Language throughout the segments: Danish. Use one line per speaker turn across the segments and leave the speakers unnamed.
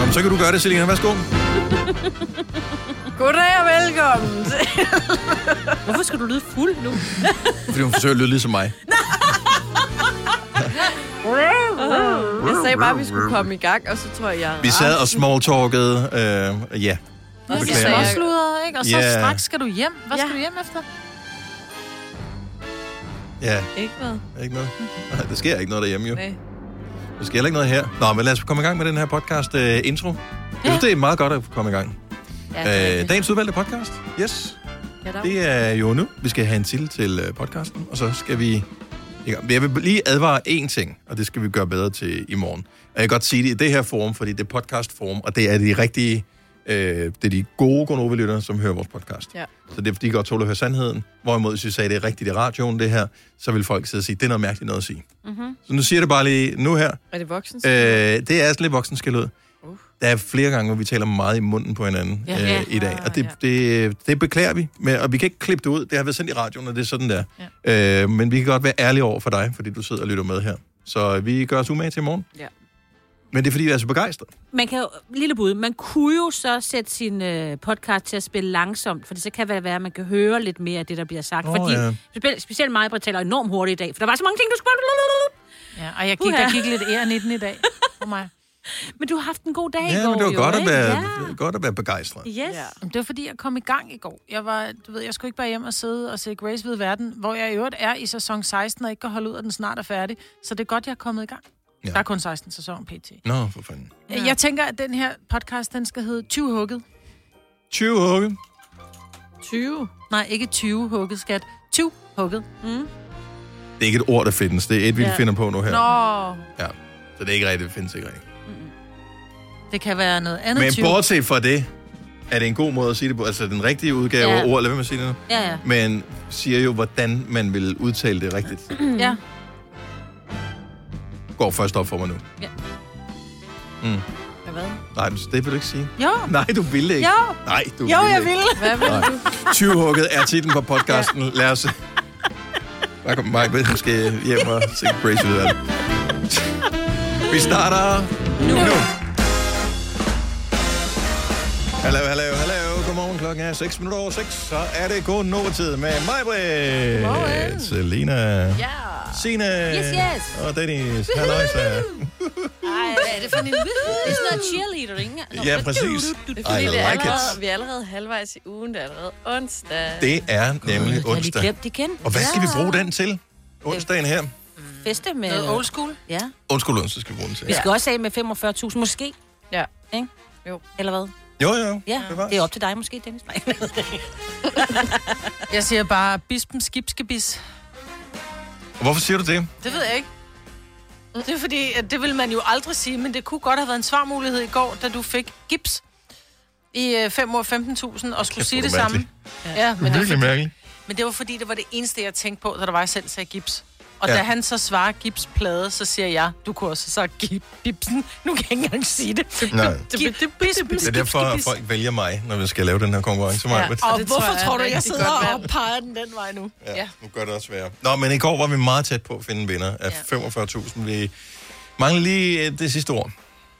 Jamen, så kan du gøre det, Selina. Værsgo.
Goddag og velkommen.
Hvorfor skal du lyde fuld nu?
Fordi hun forsøger at lyde ligesom mig.
Jeg sagde bare, at vi skulle komme i gang, og så tror jeg, jeg
Vi sad og smalltalkede. Øh, ja.
Jeg skal
Beklager.
småsludre, ikke? Og så
Ja.
straks skal du hjem. Hvad skal
Ja.
du hjem efter?
Ja,
ikke noget.
ikke noget. Nej, der sker ikke noget derhjemme, jo.
Nej.
Der sker heller ikke noget her. Nå, men lad os komme i gang med den her podcast øh, intro. Jeg synes, det er meget godt at komme i gang.
Ja,
Øh, dagens udvalgte podcast. Yes.
Ja, der
Det er jo nu. Vi skal have en titel til øh, podcasten, og så skal vi... i gang. Men Jeg vil lige advare én ting, og det skal vi gøre bedre til i morgen. Og jeg kan godt sige det i det her forum, fordi det er podcastforum, og det er de rigtige... Øh, det er de gode gonovelyttere, som hører vores podcast.
Ja.
Så det er, fordi de godt tåler at høre sandheden. Hvorimod, hvis vi sagde, det er rigtigt i radioen, det her, så vil folk sidde og sige, det er noget mærkeligt noget at sige. Mm-hmm. Så nu siger jeg det bare lige nu her.
Er det voksen?
Øh, det er altså lidt voksenskæld ud. Der er flere gange, hvor vi taler meget i munden på hinanden
Ja.
ja.
Ja.
øh, i dag, og det, det, det beklager vi, med, og vi kan ikke klippe det ud. Det har været sendt i radioen, og det er sådan der. Ja. Øh, men vi kan godt være ærlige over for dig, fordi du sidder og lytter med her. Så vi gør os umage til i morgen.
Ja.
Men det er, fordi vi er så begejstrede.
Man kan jo, lille bud, man kunne jo så sætte sin øh, podcast til at spille langsomt, for så kan det være, at man kan høre lidt mere af det, der bliver sagt.
Åh,
Oh, fordi
ja.
ja. specielt, specielt mig, Britt, taler enormt hurtigt i dag, for der var så mange ting, du skulle...
Ja, og jeg gik,
Uha.
der gik lidt æren i den i dag. For mig.
Men du har haft en god dag i
Ja,
går,
men det var
jo,
godt at,
ikke?
være,
Ja.
godt at være begejstret.
Yes.
Ja.
Ja.
Jamen, Det var fordi, jeg kom i gang i går. Jeg, var, du ved, jeg skulle ikke bare hjem og sidde og se Grace ved verden, hvor jeg i øvrigt er i sæson 16 og ikke kan holde ud, at den snart er færdig. Så det er godt, jeg er kommet i gang.
Ja.
Ja. Der er kun 16 sæson pt.
Nå, for fanden.
Ja. Jeg tænker, at den her podcast, den skal hedde 20 hugget.
20 hugge.
20? Nej, ikke 20 hugget, skat. 20 hugget.
Det er ikke et ord, der findes. Det er et, vi ja.
Ja.
finder på nu her.
Nå,
Ja. Så det er ikke rigtigt, det findes ikke rigtigt.
det kan være noget andet
Men
20.
bortset fra det, er det en god måde at sige det på. Altså den rigtige udgave af
Ja.
ord, eller hvad man siger det nu.
ja, ja.
men siger jo, hvordan man vil udtale det rigtigt.
Ja.
Går først op for mig nu.
Hvad?
Nej, men det vil du ikke sige.
Jo,
Nej, du ville ikke.
Jo.
Nej, du
jo,
ville
jeg
ikke.
vil.
Hvad vil
Nej.
du?
20-hugget er titlen på podcasten. Lad os... Der kommer Mike med, måske hjem og se Grace ud af det. Vi starter nu. nu. Hallo, hallo, hallo. Godmorgen. Klokken er 6 minutter over 6. Så er det god Nova-tid med mig, Britt. Selina. Ja. Signe.
Yes, yes.
Og Dennis. Halløjsa.
Ej, hvad er det for en... Det er sådan noget cheerleader, ikke? Nå,
Ja, præcis.
Det er
I
fordi, det er
like
allerede,
it.
vi er allerede halvvejs i ugen. Det er allerede onsdag.
Det er nemlig
Jeg har lige
onsdag.
glemt det igen.
Og hvad skal vi bruge den til? Onsdagen her.
Feste med...
Noget old school.
Ja.
Undskyld, onsdag skal vi bruge den til.
Vi skal også af med 45.000, måske,
Ja.
ikke?
Jo.
Eller hvad?
Jo, jo.
Ja,
Bevares.
det er op til dig måske, Dennis. Nej.
Jeg siger bare, bispen skibskebis.
Og Hvorfor siger du det?
Det ved jeg ikke. Det er fordi, at det vil man jo aldrig sige, men det kunne godt have været en svarmulighed i går, da du fik gips i øh, 5 år 15.000 og skulle sige
hvor
det
er det
samme. Ja, men det,
Virkelig mærkeligt.
men det var fordi, det var det eneste, jeg tænkte på, da der var, jeg selv sagde gips. Og
Ja.
ja. da han så svarer gipsplade, så siger jeg, du kunne også have sagt gip, bipsen. Nu kan jeg ikke engang sige det.
Nej.
Gip, bispen,
Det er derfor, at folk vælger mig, når vi skal lave den her konkurrence. Ja.
Og
Det tror
hvorfor
jeg
tror
er
du, jeg
rigtig
sidder
godt
og
valg.
peger den den vej nu?
ja. Nu gør det også værre. Nå, men i går var vi meget tæt på at finde en vinder af ja. 45.000. Vi mangler lige øh, det sidste ord.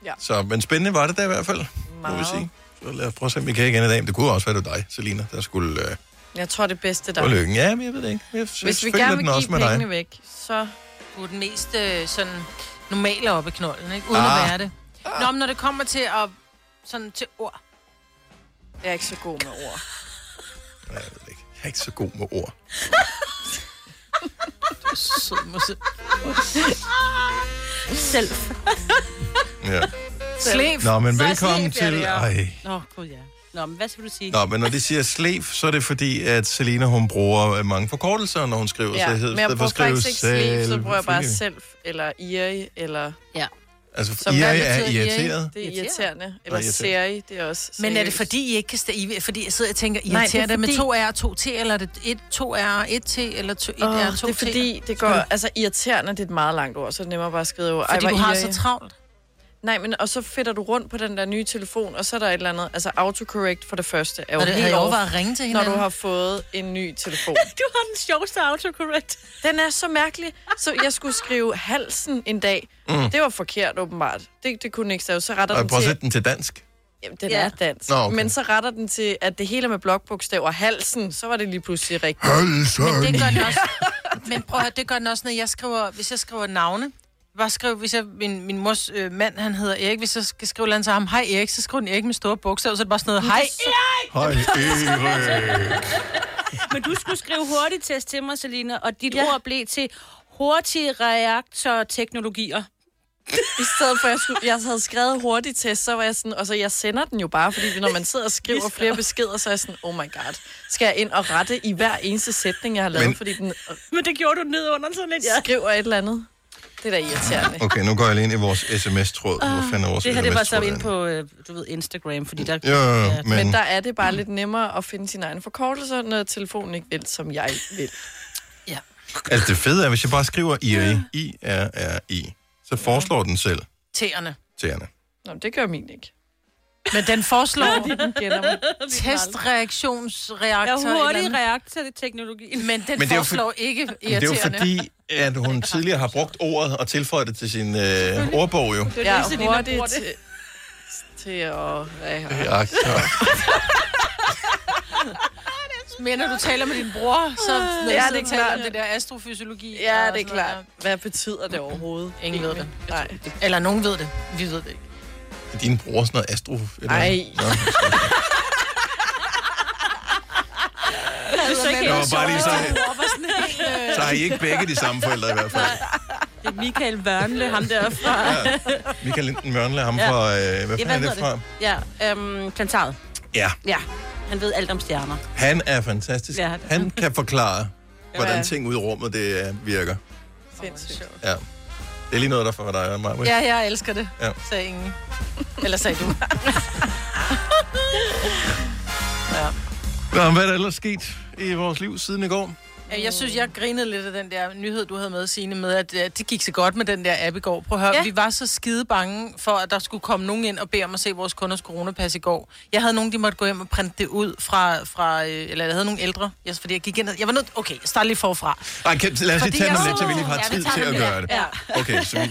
Ja.
Så, men spændende var det da i hvert fald, må vi
Meget.
sige. Så lad os prøve at se, om vi kan igen i dag. Men det kunne også være, det var dig, Selina, der skulle øh,
Jeg tror, det bedste
få
der.
lykken. Ja, men jeg ved det ikke. Jeg
Hvis vi
føler
gerne
den
vil
også
give
med dig.
pengene væk, så...
Du er den mest øh, sådan normale oppe i knolden, ikke? Uden
Ah.
ah. at være det. Nå, men når det kommer til at, sådan til ord.
Jeg er ikke så god med ord.
Nej, jeg ved det ikke. Jeg er ikke så god med ord.
Sød musik.
Selv.
Ja.
Slef.
Nå, men
Så er
velkommen
slip, ja,
til...
det er.
Ej.
Nå, gud ja. Nå, men hvad skal du sige?
Nå, men når de siger slev, så er det fordi, at Selina, hun bruger øh, mange forkortelser, når hun skriver.
Ja,
så hed-
men jeg
stedet for
bruger
at skrive
faktisk ikke sleep, så
selv-
bruger jeg bare
fordi-
selv, eller Iri, eller...
Altså,
Som
I er,
hvad
er
betyder
irriteret.
Det er
Irriterende.
irriterende. Eller
irriterende.
Seri, det er også...
Men er det
seriøst.
fordi, I ikke kan stå, fordi jeg sidder og tænker,
Nej,
irriterer
det er
det med
fordi-
to R og to T, eller er det et, to R og et T, eller to, et R
Åh,
og to
det er
T?
fordi, det går... Altså, irriterende, det er et meget langt ord, så er det nemmere bare at skrive... Ej,
fordi
hvor
du har så
irri.
travlt.
Nej, men og så fedter du rundt på den der nye telefon, og så er der et eller andet... Altså, autocorrect for det første er jo
Og det havde
helt
jeg
over,
overvejet at ringe til
når
hinanden.
du har fået en ny telefon.
Du har den sjoveste autocorrect.
Den er så mærkelig. Så jeg skulle skrive halsen en dag. Mm. Det var forkert, åbenbart. Det, det kunne den ikke stave. Så retter
Og
den
prøv at
til...
sætte den til dansk.
Jamen, den
Ja.
er dansk.
Nå,
Nå,
okay.
okay. Men så retter den til, at det hele er med blokbogstaver. Halsen, så var det lige pludselig rigtigt.
Halsen!
Det gør den også. Men prøv at høre, det gør den også, når jeg skriver, hvis jeg skriver navne. Bare skriv, hvis jeg, min, min mors øh, mand, han hedder Erik, hvis jeg skal skrive et eller andet til ham, hej Erik, så skriver den Erik med store bogstaver, så er det bare sådan noget, hej
Hej, Erik.
Men du skulle skrive hurtigtest til mig, Selina, og dit ja. ord blev til hurtige reaktorteknologier.
I stedet for, at jeg, skulle, jeg havde skrevet hurtigt test, så var jeg sådan... Og så jeg sender den jo bare, fordi når man sidder og skriver flere beskeder, så er jeg sådan, oh my god, skal jeg ind og rette i hver eneste sætning, jeg har lavet,
Men-
men... fordi den øh,
Men det gjorde du ned under sådan lidt,
skriver et eller andet. Det er da irriterende.
Okay, nu går jeg lige ind i vores sms-tråd. Hvor fanden er vores
Det her, det var så
SMS-tråd
ind
henne?
på, øh, du ved, Instagram, fordi der...
Jo, jo, jo, men,
Men der er det bare lidt nemmere at finde sine egne forkortelser, når telefonen ikke vil, som jeg vil.
altså det fede er, hvis jeg bare skriver IRI, I-R-R-I, så foreslår den selv
T'erne.
til Anna.
Nå, men det gør min ikke.
Men den foreslår
Den gætter mig.
Ja,
testreaktionsreaktor. et eller
hurtig
andet.
reaktorteknologi.
Men den
Men
Men
det er jo
foreslår ikke
Men det er
irriterende.
jo fordi, at hun tidligere har brugt ordet og tilføjet det til sin øh, ordbog jo.
Det
Jeg
er
er
Selina bruger
hurtigt
det.
til, til at... Ja,
Ja, så-
Men når du taler med din bror, så
det
Ah. ja,
er
det er
klart.
klart. det der astrofysiologi.
ja
og
det er
sådan noget
klart. Hvad betyder det overhovedet? Altså,
Ingen ved det.
Egentlig. Nej.
der. Eller nogen ved det. Vi ved det ikke.
Din bror sådan noget astro... eller-
Ej.
Nå, det var bare lige sådan, så har I ikke begge de samme forældre i hvert fald.
Det er Michael Wørnle, ham der fra...
Michael Linden Mørnle, ham fra... Øh, hvad
Ja,
fanden
hvad
er det fra?
hedder det? Ja, øhm, plantaret.
Ja,
Ja, han ved alt om stjerner.
han er fantastisk.
Ja.
Han kan forklare, hvordan
Ja.
ting ud i rummet det øh, virker.
Sindssygt.
Ja. Det er lige noget, der for dig og mig. Ja.
Ja, jeg elsker det,
Ja.
ja. sagde ingen. Eller sagde du.
Nå, men hvad er der ellers sket i vores liv siden i går?
Ja, Jeg synes, jeg grinede lidt af den der nyhed, du havde med, Signe, med, at øh, det gik så godt med den der app i går. Prøv at høre,
Ja.
ja. vi var så skide bange for, at der skulle komme nogen ind og bede om at se vores kunders coronapas i går. Jeg havde nogen, de måtte gå hjem og printe det ud fra, fra øh, eller jeg havde nogle ældre, jeg, fordi jeg gik ind og, jeg var nødt, okay, jeg starter lige forfra.
Ej, kan, lad os lige
Fordi
tage
jeg-
dem lidt, så vi lige har
Ja, vi
tid
tager
til
dem
at
lidt.
gøre det. Okay, så,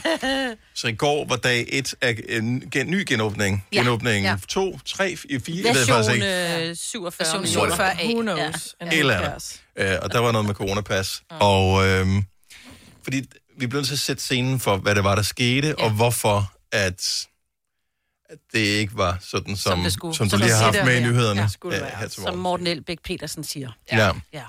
vi, så i går var dag 1 af en gen, ny genåbning.
Ja.
Genåbning
Ja.
2, 3, 4, 4, jeg ved faktisk
Version
ikke.
øh, 47.
Version
minutter.
47.
Who knows? Ja.
Et eller andet. Øh, og der var noget med coronapas. Og øhm, fordi vi blev nødt til at sætte scenen for, hvad det var, der skete, og hvorfor at, at det ikke var sådan, som, som,
det skulle.
som du
Som
lige har
der
haft
siger
med i
der, ja.
nyhederne.
Ja,
skulle det
øh,
være.
her til
Som
morgen.
Morten Elbæk Petersen siger.
Ja.
Ja.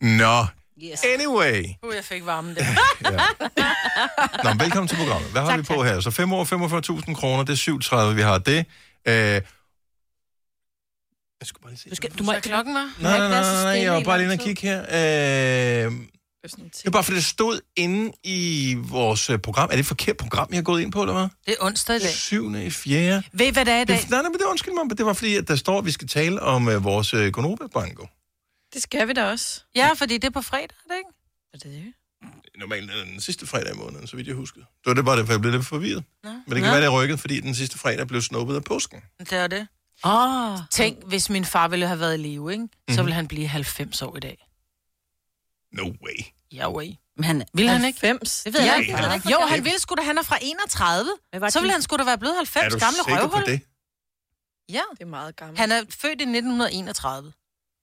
Nå,
Yes.
anyway.
Uh, jeg fik varmen der.
Nå, men velkommen til programmet. Hvad har tak, vi på her? Så 5 år, 45.000 kroner, det er 37, vi har det. Øh, jeg skulle bare lige se.
Du, skal, du må
Hvad klokken var?
Nej, nej,
ikke
nej,
være så
nej, nej,
stille
jeg var
i
bare lige
lang
inde og kigge her. Øh, det er bare, fordi det stod inde i vores øh, program. Er det et forkert program, jeg har gået ind på, eller hvad?
Det er onsdag i dag.
7. i 4.
Ved I, hvad det er i dag?
Det, nej, nej, men det undskyld mig, men det var fordi, at der står, at vi skal tale om øh, vores øh, Gonoba-banko.
Det skal vi da også.
Ja, fordi det er på fredag, er det ikke?
Er det det?
Normalt er det den sidste fredag i måneden, så vidt jeg husker. Det var det bare, derfor jeg blev lidt forvirret.
Nå.
Men det kan være, det er rykket, fordi den sidste fredag blev snuppet af påsken.
Det er det.
Åh.
Tænk, hvis min far ville have været i live, ikke?
Mhm.
Så ville han blive 90 år i dag.
No way.
Ja, way.
Men han,
Vil han ikke?
90.
det ved
Ja,
jeg ikke. Jeg ved ikke,
Jo,
hvor
han
gammel-
ville sgu da, han er fra 31.
Hvad var det,
Så ville
du-
han sgu da være blevet
er
90
du
gamle
sikker
røvhul.
på det?
Ja,
Det er meget gammelt.
han er født i 1931.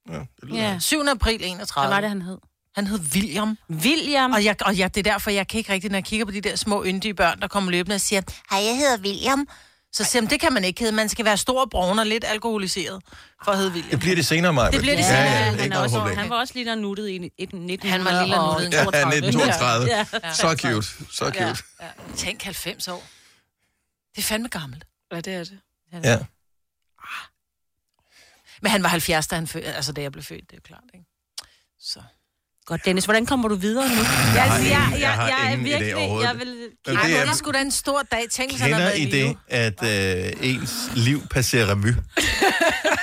Ja, det lyder
Ja.
yeah.
7. april
Hvad
31.
var det, han hed?
Han hed William.
William.
Og, jeg, og jeg, det er derfor, jeg kan ikke rigtig, når jeg kigger på de der små yndige børn, der kommer løbende og siger, hej, jeg hedder William. Så siger han, det kan man ikke hedde. Man skal være stor og brun og lidt alkoholiseret for at hedde William.
Det bliver det senere, Maja.
Det bliver det
Ja,
senere.
ja,
han,
det er
han,
ikke
er
noget
også,
problem.
han var også lige der nuttet i 19
Han var lille og nuttet i
Ja, 1932. Ja. Så cute, så cute.
Tænk 90 år. Det er fandme gammelt.
Ja, det er det.
Ja.
Men han var 70, da, han fø- altså, da jeg blev født, det er klart. Ikke? Så.
Godt, Dennis, hvordan kommer du videre nu? Jeg,
har ingen- jeg har ingen idé overhovedet.
jeg vil...
Men
Ej,
det
det
er,
er sgu da en stor dag. Tænk, hvis han har
kender
været
I
i live.
det, at øh, ens liv passerer revy?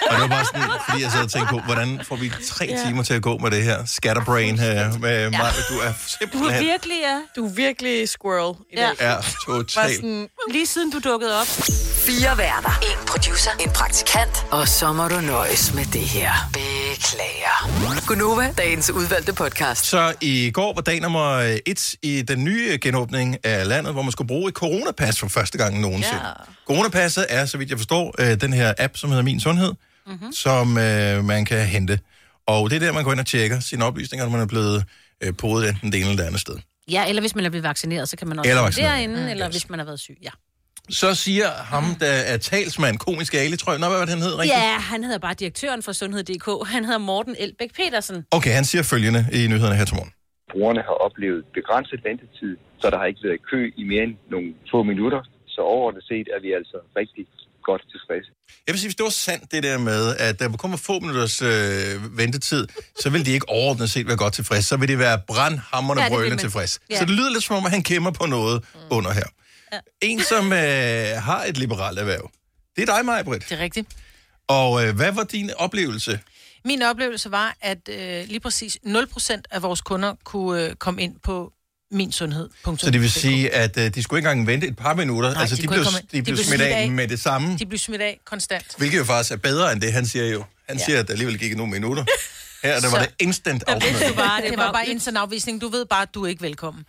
Og det var bare sådan, fordi jeg sad og tænkte på, hvordan får vi tre timer til at gå med det her scatterbrain her med ja. mig? Du er
Du er
simpelthen...
virkelig, ja.
Du er virkelig squirrel i
Ja.
dag.
Ja,
Bare
totalt.
sådan,
Lige siden du dukkede op.
Fire værter.
En producer. En praktikant.
Og så må du nøjes med det her. Beklager. Gunova, dagens udvalgte podcast.
Så i går var dag nummer øh, et i den nye genåbning af landet, hvor man skulle bruge et coronapas for første gang nogensinde.
Ja.
Coronapasset er, så vidt jeg forstår, øh, den her app, som hedder Min Sundhed, mm-hmm. som øh, man kan hente. Og det er der, man går ind og tjekker sine oplysninger, når man er blevet øh, podet enten det ene eller det andet sted.
Ja, eller hvis man er blevet vaccineret, så kan man også
Eller
komme
vaccineret,
derinde, mm, eller hvis man har været syg, ja.
Så siger ham, der er talsmand, komisk Ali, tror jeg, Nå, hvad var det, han hed rigtigt?
Ja, han hedder bare direktøren for Sundhed.dk. Han hedder Morten Elbæk Petersen.
Okay, han siger følgende i nyhederne her til morgen.
Brugerne har oplevet begrænset ventetid, så der har ikke været kø i mere end nogle få minutter. Så overordnet set er vi altså rigtig godt tilfredse.
Jeg vil sige, hvis det var sandt, det der med, at der kun var få minutters øh, ventetid, så ville de ikke overordnet set være godt tilfreds. Så ville de være brandhammerne
Ja,
ja,
det vil
brølende
man.
tilfreds. Ja.
Ja.
Så det lyder lidt som om, at han kæmper på noget mm. under her. Ja. En, som øh, har et liberalt erhverv, det er dig, Maja Britt.
Det er rigtigt.
Og øh, hvad var din oplevelse?
Min oplevelse var, at øh, lige præcis 0% af vores kunder kunne øh, komme ind på min sundhed.
Så det vil sige, at øh, de skulle ikke engang vente et par minutter. Nej, altså,
de
de, de,
kunne
blev,
ikke komme ind.
de blev smidt af med det samme.
De blev smidt af konstant.
Hvilket jo faktisk er bedre end det, han siger jo. Han ja. siger, at der alligevel gik nogle minutter. Her der var
Så-
det instant
vidste du
afsmidt.
bare-
det,
det
det
var
var bare
lidt-
intern afvisning. Du ved bare, at du er ikke velkommen.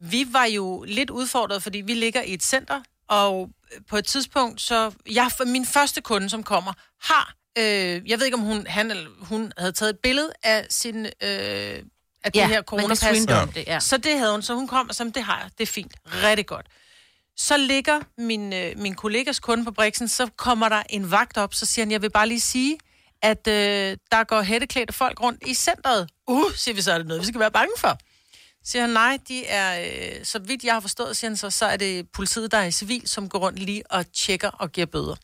Vi var jo lidt udfordret, fordi vi ligger i et center, og øh, på et tidspunkt, så... Jeg, min første kunde, som kommer, har... Øh, jeg ved ikke, om hun, han eller hun havde taget et billede af sin... Øh, af
Ja,
det her
man kan
coronapas.
screene om det, ja.
Så det havde hun, så hun kom og sagde, det har jeg, det er fint, rigtig godt. Så ligger min, øh, min kollegas kunde på Brixen, så kommer der en vagt op, så siger han, jeg vil bare lige sige, at øh, der går hætteklædte folk rundt i centret. Uh, siger vi så, er det noget, vi skal være bange for? Siger han, nej, de er, øh, så vidt jeg har forstået, siger han så, så er det politiet, der er i civil, som går rundt lige og tjekker og giver bøder.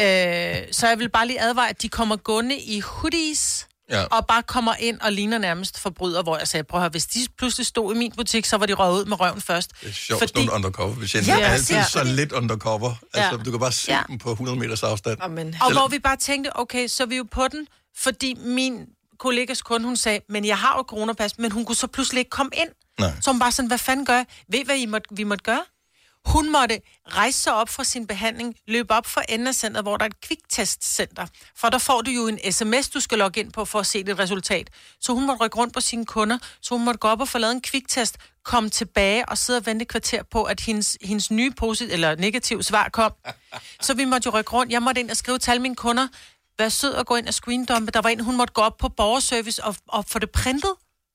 Øh, så jeg vil bare lige advare, at de kommer gående i hoodies,
Ja.
ja. og bare kommer ind og ligner nærmest forbryder, hvor jeg sagde, prøv at høre, hvis de pludselig stod i min butik, så var de røget ud med røven først.
Det er sjovt, fordi... sådan nogle undercover betjente.
Ja,
Ja, er altid
præcis,
så
fordi-
lidt undercover. Altså,
Ja.
du kan bare se ja.
Ja.
dem på 100 meters afstand.
amen.
Og hvor vi bare tænkte, okay, så er vi jo på den, fordi min kollegas kunde, hun sagde, men jeg har jo coronapas, men hun kunne så pludselig ikke komme ind.
Nej.
Så hun bare sådan, hvad fanden gør jeg? Ved I, hvad I måtte, vi måtte gøre? Hun måtte rejse sig op fra sin behandling, løbe op for enden af centret, hvor der er et kviktestcenter. For der får du jo en sms, du skal logge ind på for at se dit resultat. Så hun måtte rykke rundt på sine kunder, så hun måtte gå op og få lavet en kviktest, komme tilbage og sidde og vente et kvarter på, at hendes, hendes nye positiv eller negativ svar kom. Så vi måtte jo rykke rundt. Jeg måtte ind og skrive til alle mine kunder, vær sød og gå ind og screendumpe. Der var en, hun måtte gå op på borgerservice og, og få det printet.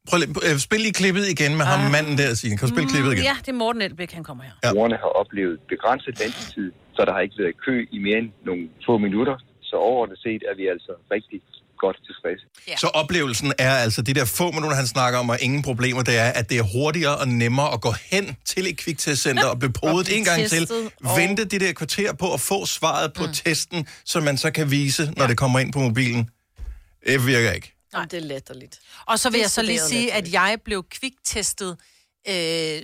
Prøv lige, øh, spil lige klippet igen med ham manden der, Signe. Kan du spille klippet igen?
Ja, det er Morten Elbæk, han kommer her.
Ja.
Brugerne har oplevet begrænset ventetid, så der har ikke været kø i mere end nogle få minutter. Så overordnet set er vi altså rigtig godt tilfredse.
Ja. Så oplevelsen er altså, de der få minutter, han snakker om, og ingen problemer, det er, at det er hurtigere og nemmere at gå hen til et kviktestcenter og blive podet en gang til.
testet, og-
Vente det der kvarter på at få svaret på mm. testen, som man så kan vise, når ja. det kommer ind på mobilen. Det virker ikke.
Jamen, det er latterligt.
Og så vil
Det
jeg så lige
studerede
sige,
lidt.
at jeg blev kviktestet. Øh,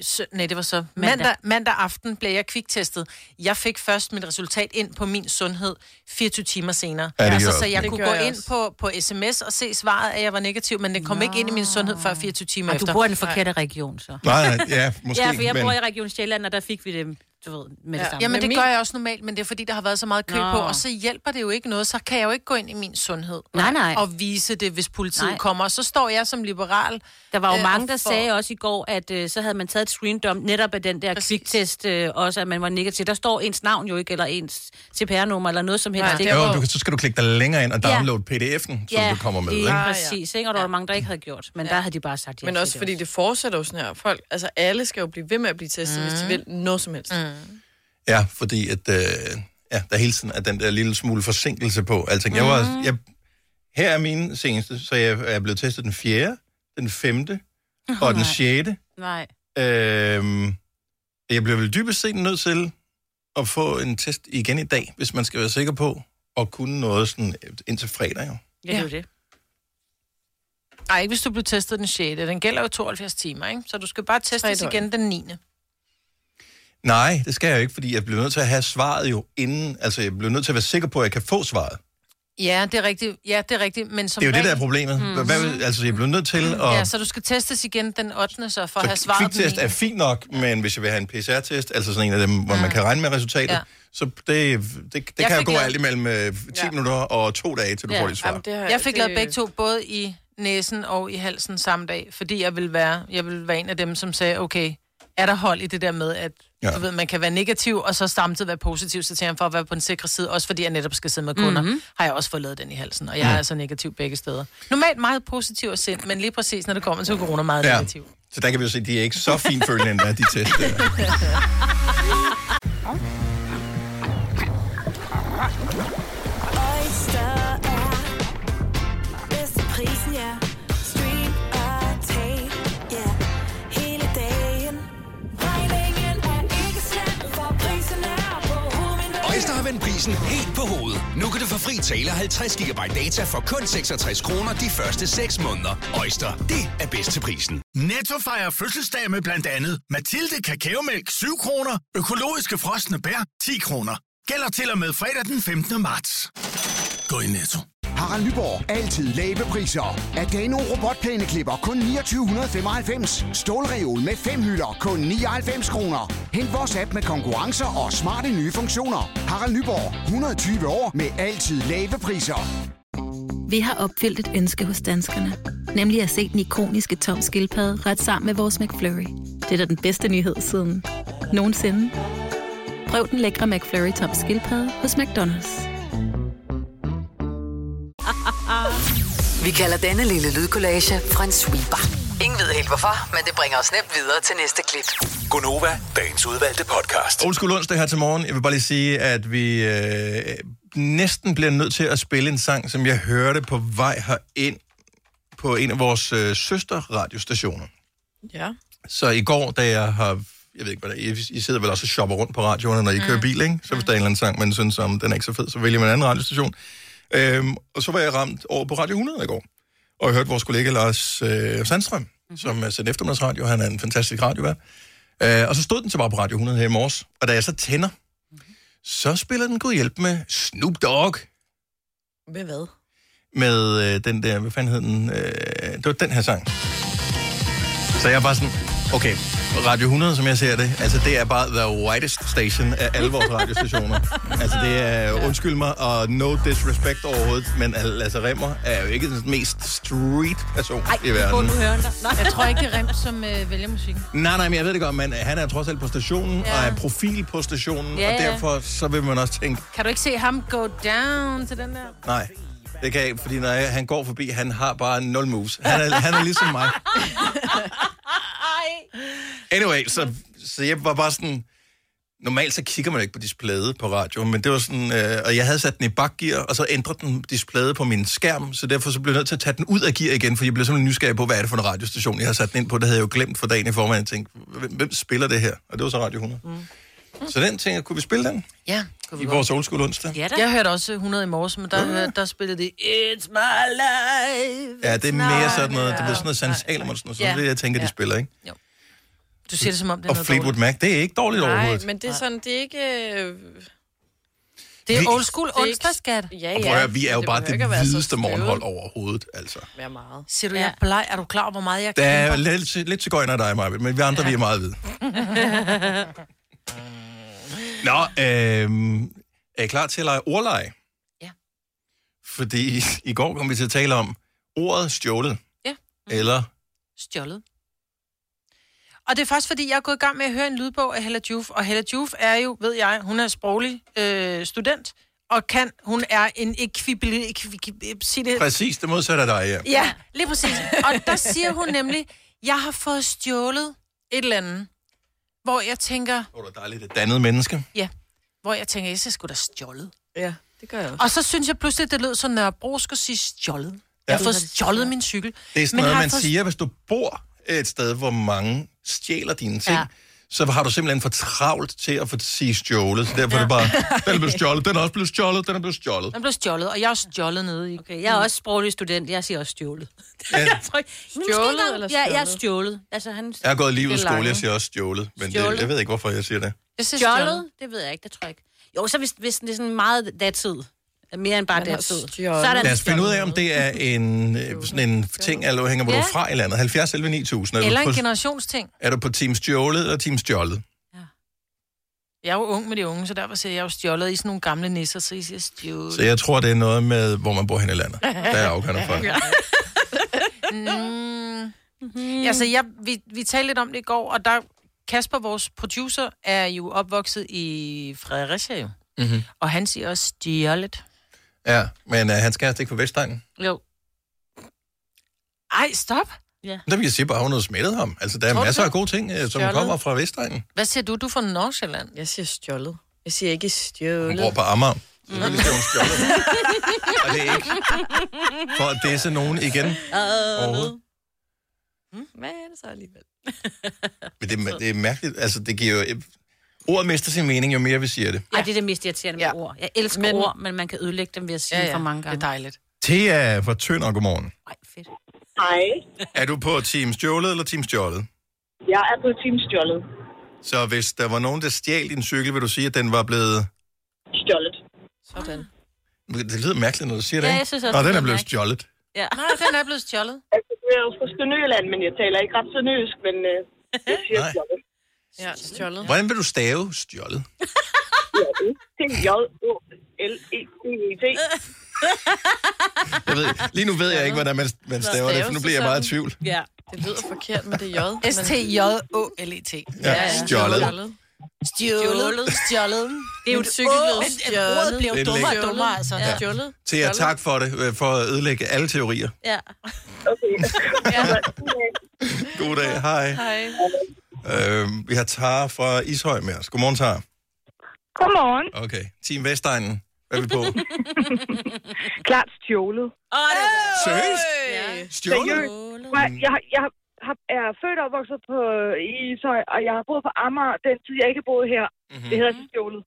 sø, nej, det var så mandag, mandag aften blev jeg kviktestet. Jeg fik først mit resultat ind på min sundhed 24 timer senere.
Ja, det gjorde
altså,
jeg
så
også.
jeg
Det
kunne
gjorde
gå
jeg
ind på, på sms og se svaret, at jeg var negativ, men det kom ikke ind i min sundhed før 24 timer
Og du
efter.
bor i den forkerte region, så.
Nej, nej, ja, måske.
Ja, for jeg
men...
bor i Region Sjælland, og der fik vi det, du ved, med det
Ja.
samme.
Jamen,
Men
det
min-
gør jeg også normalt, men det er fordi, der har været så meget kø
Nå.
på, og så hjælper det jo ikke noget. Så kan jeg jo ikke gå ind i min sundhed
Nej, nej.
og vise det, hvis politiet
Nej.
kommer. Og så står jeg som liberal.
Der var jo
øh,
mange,
og
der
får-
sagde også i går, at øh, så havde man taget et screendom netop af den der
Præcis.
kviktest, øh, også at man var negativ. Der står ens navn jo ikke, eller ens CPR-nummer, eller noget som helst.
Nej,
ikke?
det er
Jo, du, kan- så skal du klikke dig længere ind og
Ja.
downloade pdf'en, som
ja,
du kommer med.
lige
Ikke?
præcis. Ikke? Og der var mange, der ikke havde gjort. Men der havde de bare sagt ja.
Men
til
også fordi det fortsætter jo sådan her. Folk, altså alle skal jo blive ved med at blive testet, mm. hvis de vil noget som helst. Mm.
Ja, fordi at, øh, ja, der hele tiden er den der lille smule forsinkelse på alting. Jeg
Mhm.
var, jeg, her er mine seneste, så jeg er blevet testet den 4., den 5. og den
nej.
6.
Nej.
Øhm, jeg bliver vel dybest set nødt til at få en test igen i dag, hvis man skal være sikker på at kunne noget sådan øh, indtil fredag. Jo.
Ja, det er jo det.
Nej, ikke hvis du blev testet den 6. Den gælder jo 72 timer, ikke? Så du skal bare testes
døgn.
igen den 9.
Nej, det skal jeg jo ikke, fordi jeg bliver nødt til at have svaret jo inden, altså jeg bliver nødt til at være sikker på, at jeg kan få svaret.
Ja, det er rigtigt. Ja, det er rigtigt. Men som
Det er jo det, der er
regel- Mm.
problemet. Hvad, vil- altså, jeg bliver nødt til at...
Ja, så du skal testes igen den 8. så for at have
Så
svaret den
kviktest er
niende.
fint nok, men hvis jeg vil have en PCR-test, altså sådan en af dem, hvor man kan regne med resultatet,
Ja.
så det, det, det
Jeg
kan jo
fik
gå
lavet-
alt imellem øh, 10
Ja.
minutter og to dage, til du
Ja,
får dit svar.
Jamen, det har,
Jeg fik
det-
lavet begge to, både i næsen og i halsen samme dag, fordi jeg ville være, jeg ville være en af dem, som sagde, okay, er der hold i det der med, at
Ja.
ja. du ved, man kan være negativ, og så samtidig være positiv, så tænker jeg for at være på den sikre side, også fordi jeg netop skal sidde med kunder, mm-hmm. har jeg også fået lavet den i halsen, og jeg er altså negativ begge steder. Normalt meget positiv og sind, men lige præcis, når det kommer til corona, meget ja.
Ja.
negativ.
Så der kan vi jo se, at de er ikke så finfølende endda, de test. Der.
Oyster er bedst til prisen, ja. Stream og tag, ja. Hele dagen. Regningen er ikke slem, for prisen er på
Øjster
hovedet.
har vendt prisen helt på hovedet. Nu kan du få fri tale 50 GB data for kun 66 kroner de første 6 måneder. Øjster, det er bedst til prisen.
Netto fejrer fødselsdag med blandt andet Mathilde Kakaomælk 7 kroner, økologiske frosne bær 10 kroner. Gælder til og med fredag den 15. marts. Gå i Netto.
Harald Nyborg. Altid lave priser. Adano robotplæneklipper kun 2995. Stålreol med fem hylder kun 99 kroner. Hent vores app med konkurrencer og smarte nye funktioner. Harald Nyborg. 120 år med altid lave priser.
Vi har opfyldt et ønske hos danskerne. Nemlig at se den ikoniske tom skildpadde ret sammen med vores McFlurry. Det er da den bedste nyhed siden nogensinde. Prøv den lækre McFlurry tom skildpadde hos McDonald's.
Vi kalder denne lille lydkollage en sweeper. Ingen ved helt hvorfor, men det bringer os nemt videre til næste klip.
Gonova, dagens udvalgte podcast.
Old School onsdag her til morgen. Jeg vil bare lige sige, at vi øh, næsten bliver nødt til at spille en sang, som jeg hørte på vej herind på en af vores øh, søsterradiostationer.
Ja.
Så i går, da jeg har... Jeg ved ikke, hvad der, I, I sidder vel også og shopper rundt på radioerne, når I kører bil, ikke? Så hvis der er en eller anden sang, man synes, om den er ikke så fed, så vælger man en anden radiostation. Øhm, og så var jeg ramt over på Radio 100 i går. Og jeg hørte vores kollega Lars øh, Sandstrøm, mm-hmm. som er sendt eftermiddagsradio. Han er en fantastisk radiovært. Øh, og så stod den så bare på Radio 100 her i morges. Og da jeg så tænder, så spiller den god hjælp med Snoop Dogg.
Med hvad?
Med øh, den der, hvad fanden hed den? Øh, det var den her sang. Så jeg er bare sådan, okay, Radio 100, som jeg ser det, altså det er bare the whitest station af alle vores radiostationer. altså det er, undskyld mig, og no disrespect overhovedet, men al- Lasse Remmer er jo ikke den mest street person i
Gå
verden.
nu høre dig. Nej.
Jeg tror ikke, det er Rem, som øh, vælger musikken.
Nej, nej, men jeg ved det godt, men han er trods alt på stationen, ja.
Ja.
og er profil på stationen,
Ja,
og
ja.
derfor så vil man også tænke,
Kan du ikke se ham go down til den der?
nej, det kan jeg ikke, fordi når jeg, han går forbi, han har bare nul moves. Han er, han er ligesom mig. Anyway, så, så jeg var bare sådan... Normalt så kigger man jo ikke på displayet på radio, men det var sådan... Øh, og jeg havde sat den i bakgear, og så ændrede den displayet på min skærm, så derfor så blev jeg nødt til at tage den ud af gear igen, for jeg blev simpelthen nysgerrig på, hvad er det for en radiostation, jeg har sat den ind på. Det havde jeg jo glemt for dagen i forvejen. Jeg tænkte, hvem, hvem spiller det her? Og det var så Radio 100. Mm. Så den tænker, kunne vi spille den
Ja, kunne
i vores Old School onsdag?
Ja da.
Jeg hørte også 100 i morges, men der, hørte, der spillede de It's my life.
Ja, det er mere sådan noget, det
ja.
er sådan noget Sanne Salomon, sådan noget,
Ja.
sådan det, jeg tænker, de
Ja.
spiller, ikke?
Du siger det som om, det er
Og
noget
Fleetwood
dårligt.
Mac, det er ikke dårligt
Nej,
overhovedet.
men det er sådan, det er ikke... øh,
Det
Vi-
er old school
er ikke-
onsdagsskat.
Ja,
Og
ja.
prøv at høre, vi er jo
Det
bare
behøver ikke at være
det
så
hvideste
støvet.
morgenhold overhovedet, altså.
Være meget.
Siger du, jeg er bleg? Er du klar over, hvor meget jeg
Der er
kæmper?
lidt, lidt til gøjner dig, Maja, men vi andre, ja. vi er meget ved. Nå, øh, er I klar til at lege ordleje?
Ja.
Fordi i går kom vi til at tale om ordet stjålet.
Ja.
Eller,
Stjålet. Og det er faktisk, fordi jeg er gået i gang med at høre en lydbog af Hella Juf. Og Hella Juf er jo, ved jeg, hun er sproglig øh, student. Og kan, hun er en ekvibili... ekvibili sig det,
præcis det modsatte af dig, ja.
Ja, lige præcis. Og der siger hun nemlig, jeg har fået stjålet et eller andet, hvor jeg tænker,
Hvor du er dejligt et dannet menneske.
ja, hvor jeg tænker, jeg skulle da stjålet.
Ja, det gør jeg også.
Og så synes jeg pludselig, det lød så Nørrebro skulle sige stjålet. Jeg har
Ja.
fået stjålet min cykel.
Det er sådan
Men
noget,
har
man
fået-
siger, hvis du bor et sted, hvor mange stjæler dine ting, ja.
Ja.
så har du simpelthen for travlt til at få sige stjålet. Så derfor ja. er det bare, den er blevet stjålet, den er også blevet stjålet, den er blevet stjålet.
Den blev stjålet, og jeg er stjålet nede i.
Okay, jeg er også sproglig student. Jeg siger også stjålet.
Jeg,
Tror ikke- Men måske
Stjålet
engang-
eller
Ja, jeg er
stjålet?
stjålet. Altså, han
jeg har gået lige ud af
Det er
skole,
lange.
jeg siger også stjålet, men det,
Stjålet.
jeg ved ikke, hvorfor jeg siger det.
Jeg siger
stjålet, det ved jeg ikke, det tror jeg ikke. Jo, så hvis, hvis det er sådan meget datid, Mere end bare
har
deres død.
stjålet.
Så er der
Lad os finde ud af, om det er en, øh, sådan en ting, eller hænger hvor du
Ja.
er fra i landet. 70 11 9000. Er,
Eller
du
en
på,
generationsting.
er du på Team Stjålet eller Team Stjålet?
Jeg er jo ung med de unge, så derfor siger jeg, jeg er jo stjålet i sådan nogle gamle nisser, så I siger stjålet.
Så jeg tror, det er noget med, hvor man bor hen i landet. Der er afgørende for.
Mm. Mm-hmm. Altså, jeg, vi, vi talte lidt om det i går, og der, Kasper, vores producer, er jo opvokset i Fredericia, jo.
Mm-hmm.
og han siger også stjålet.
Ja, men øh, han skal altså ikke på Vestegnen.
Jo. Ej, stop.
Ja.
Der vil jeg sige bare, at hun har smittet ham. Altså, der er
Tror du
masser
det?
af gode ting, øh, som
Stjålet.
kommer fra Vestegnen.
Hvad siger du? Du er fra Nordsjælland.
Jeg siger stjålet. Jeg siger ikke stjålet.
Hun bor på Amager. Selvfølgelig skal hun stjålet. Og det er ikke for at disse nogen igen. Overhovedet.
Hvad er det så alligevel?
Men det, er- det er mærkeligt. Altså, det giver jo... Ordet mister sin mening, jo mere vi siger det.
Ej, det er det mest irriterende med ja. ord. Jeg elsker men... ord, men man kan ødelægge dem ved at sige ja, ja. for mange gange. det
er dejligt.
Thea fra Tønder, godmorgen.
Hej.
Er du på Team Stjålet eller Team Stjålet?
Jeg er på Team Stjålet.
Så hvis der var nogen, der stjal din cykel, vil du sige, at den var blevet...
Stjålet.
Sådan.
Det lyder mærkeligt, når du siger det,
Ja,
ikke?
jeg synes også,
Nå,
det
den er
lyder
blevet
mærkeligt.
stjålet.
Ja.
Nej, den er blevet stjålet.
Altså, jeg er jo fra Sønderjylland, men jeg taler ikke ret sønderjysk, men øh, jeg siger stjålet.
Ja, stjålet.
Hvordan vil du stave stjålet?
Stjålet. Det er J-O-L-E-T-E-T.
Jeg ved, lige nu ved jeg ikke, hvordan man, man staver det, for nu bliver jeg meget i tvivl.
Ja.
Det lyder forkert med det J. men-
S-T-J-O-L-E-T.
Ja, stjålet.
Stjålet. Stjålet.
Det er jo
Men
et cykelbillede.
åh, men Ordet bliver jo
Det er
dummere og
lækkert.
dummere, altså.
Ja.
Stjålet.
Thea, tak for det, øh, for at ødelægge alle teorier.
Ja.
Okay.
God dag, hej.
Hej.
Øh, vi har Tara fra Ishøj med os. Godmorgen, Tara.
Godmorgen.
Okay, Team Vestegnen. Hvad er vi på?
Klart stjålet.
Åh, oh, det er
Seriøst? Stjålet?
Seriøst. Prøv at- Jeg, jeg har, er født og opvokset på i Ishøj, og jeg har boet på Amager den tid, jeg ikke boede her.
Mhm.
Mm-hmm. Det hedder
Mm.
altså stjålet.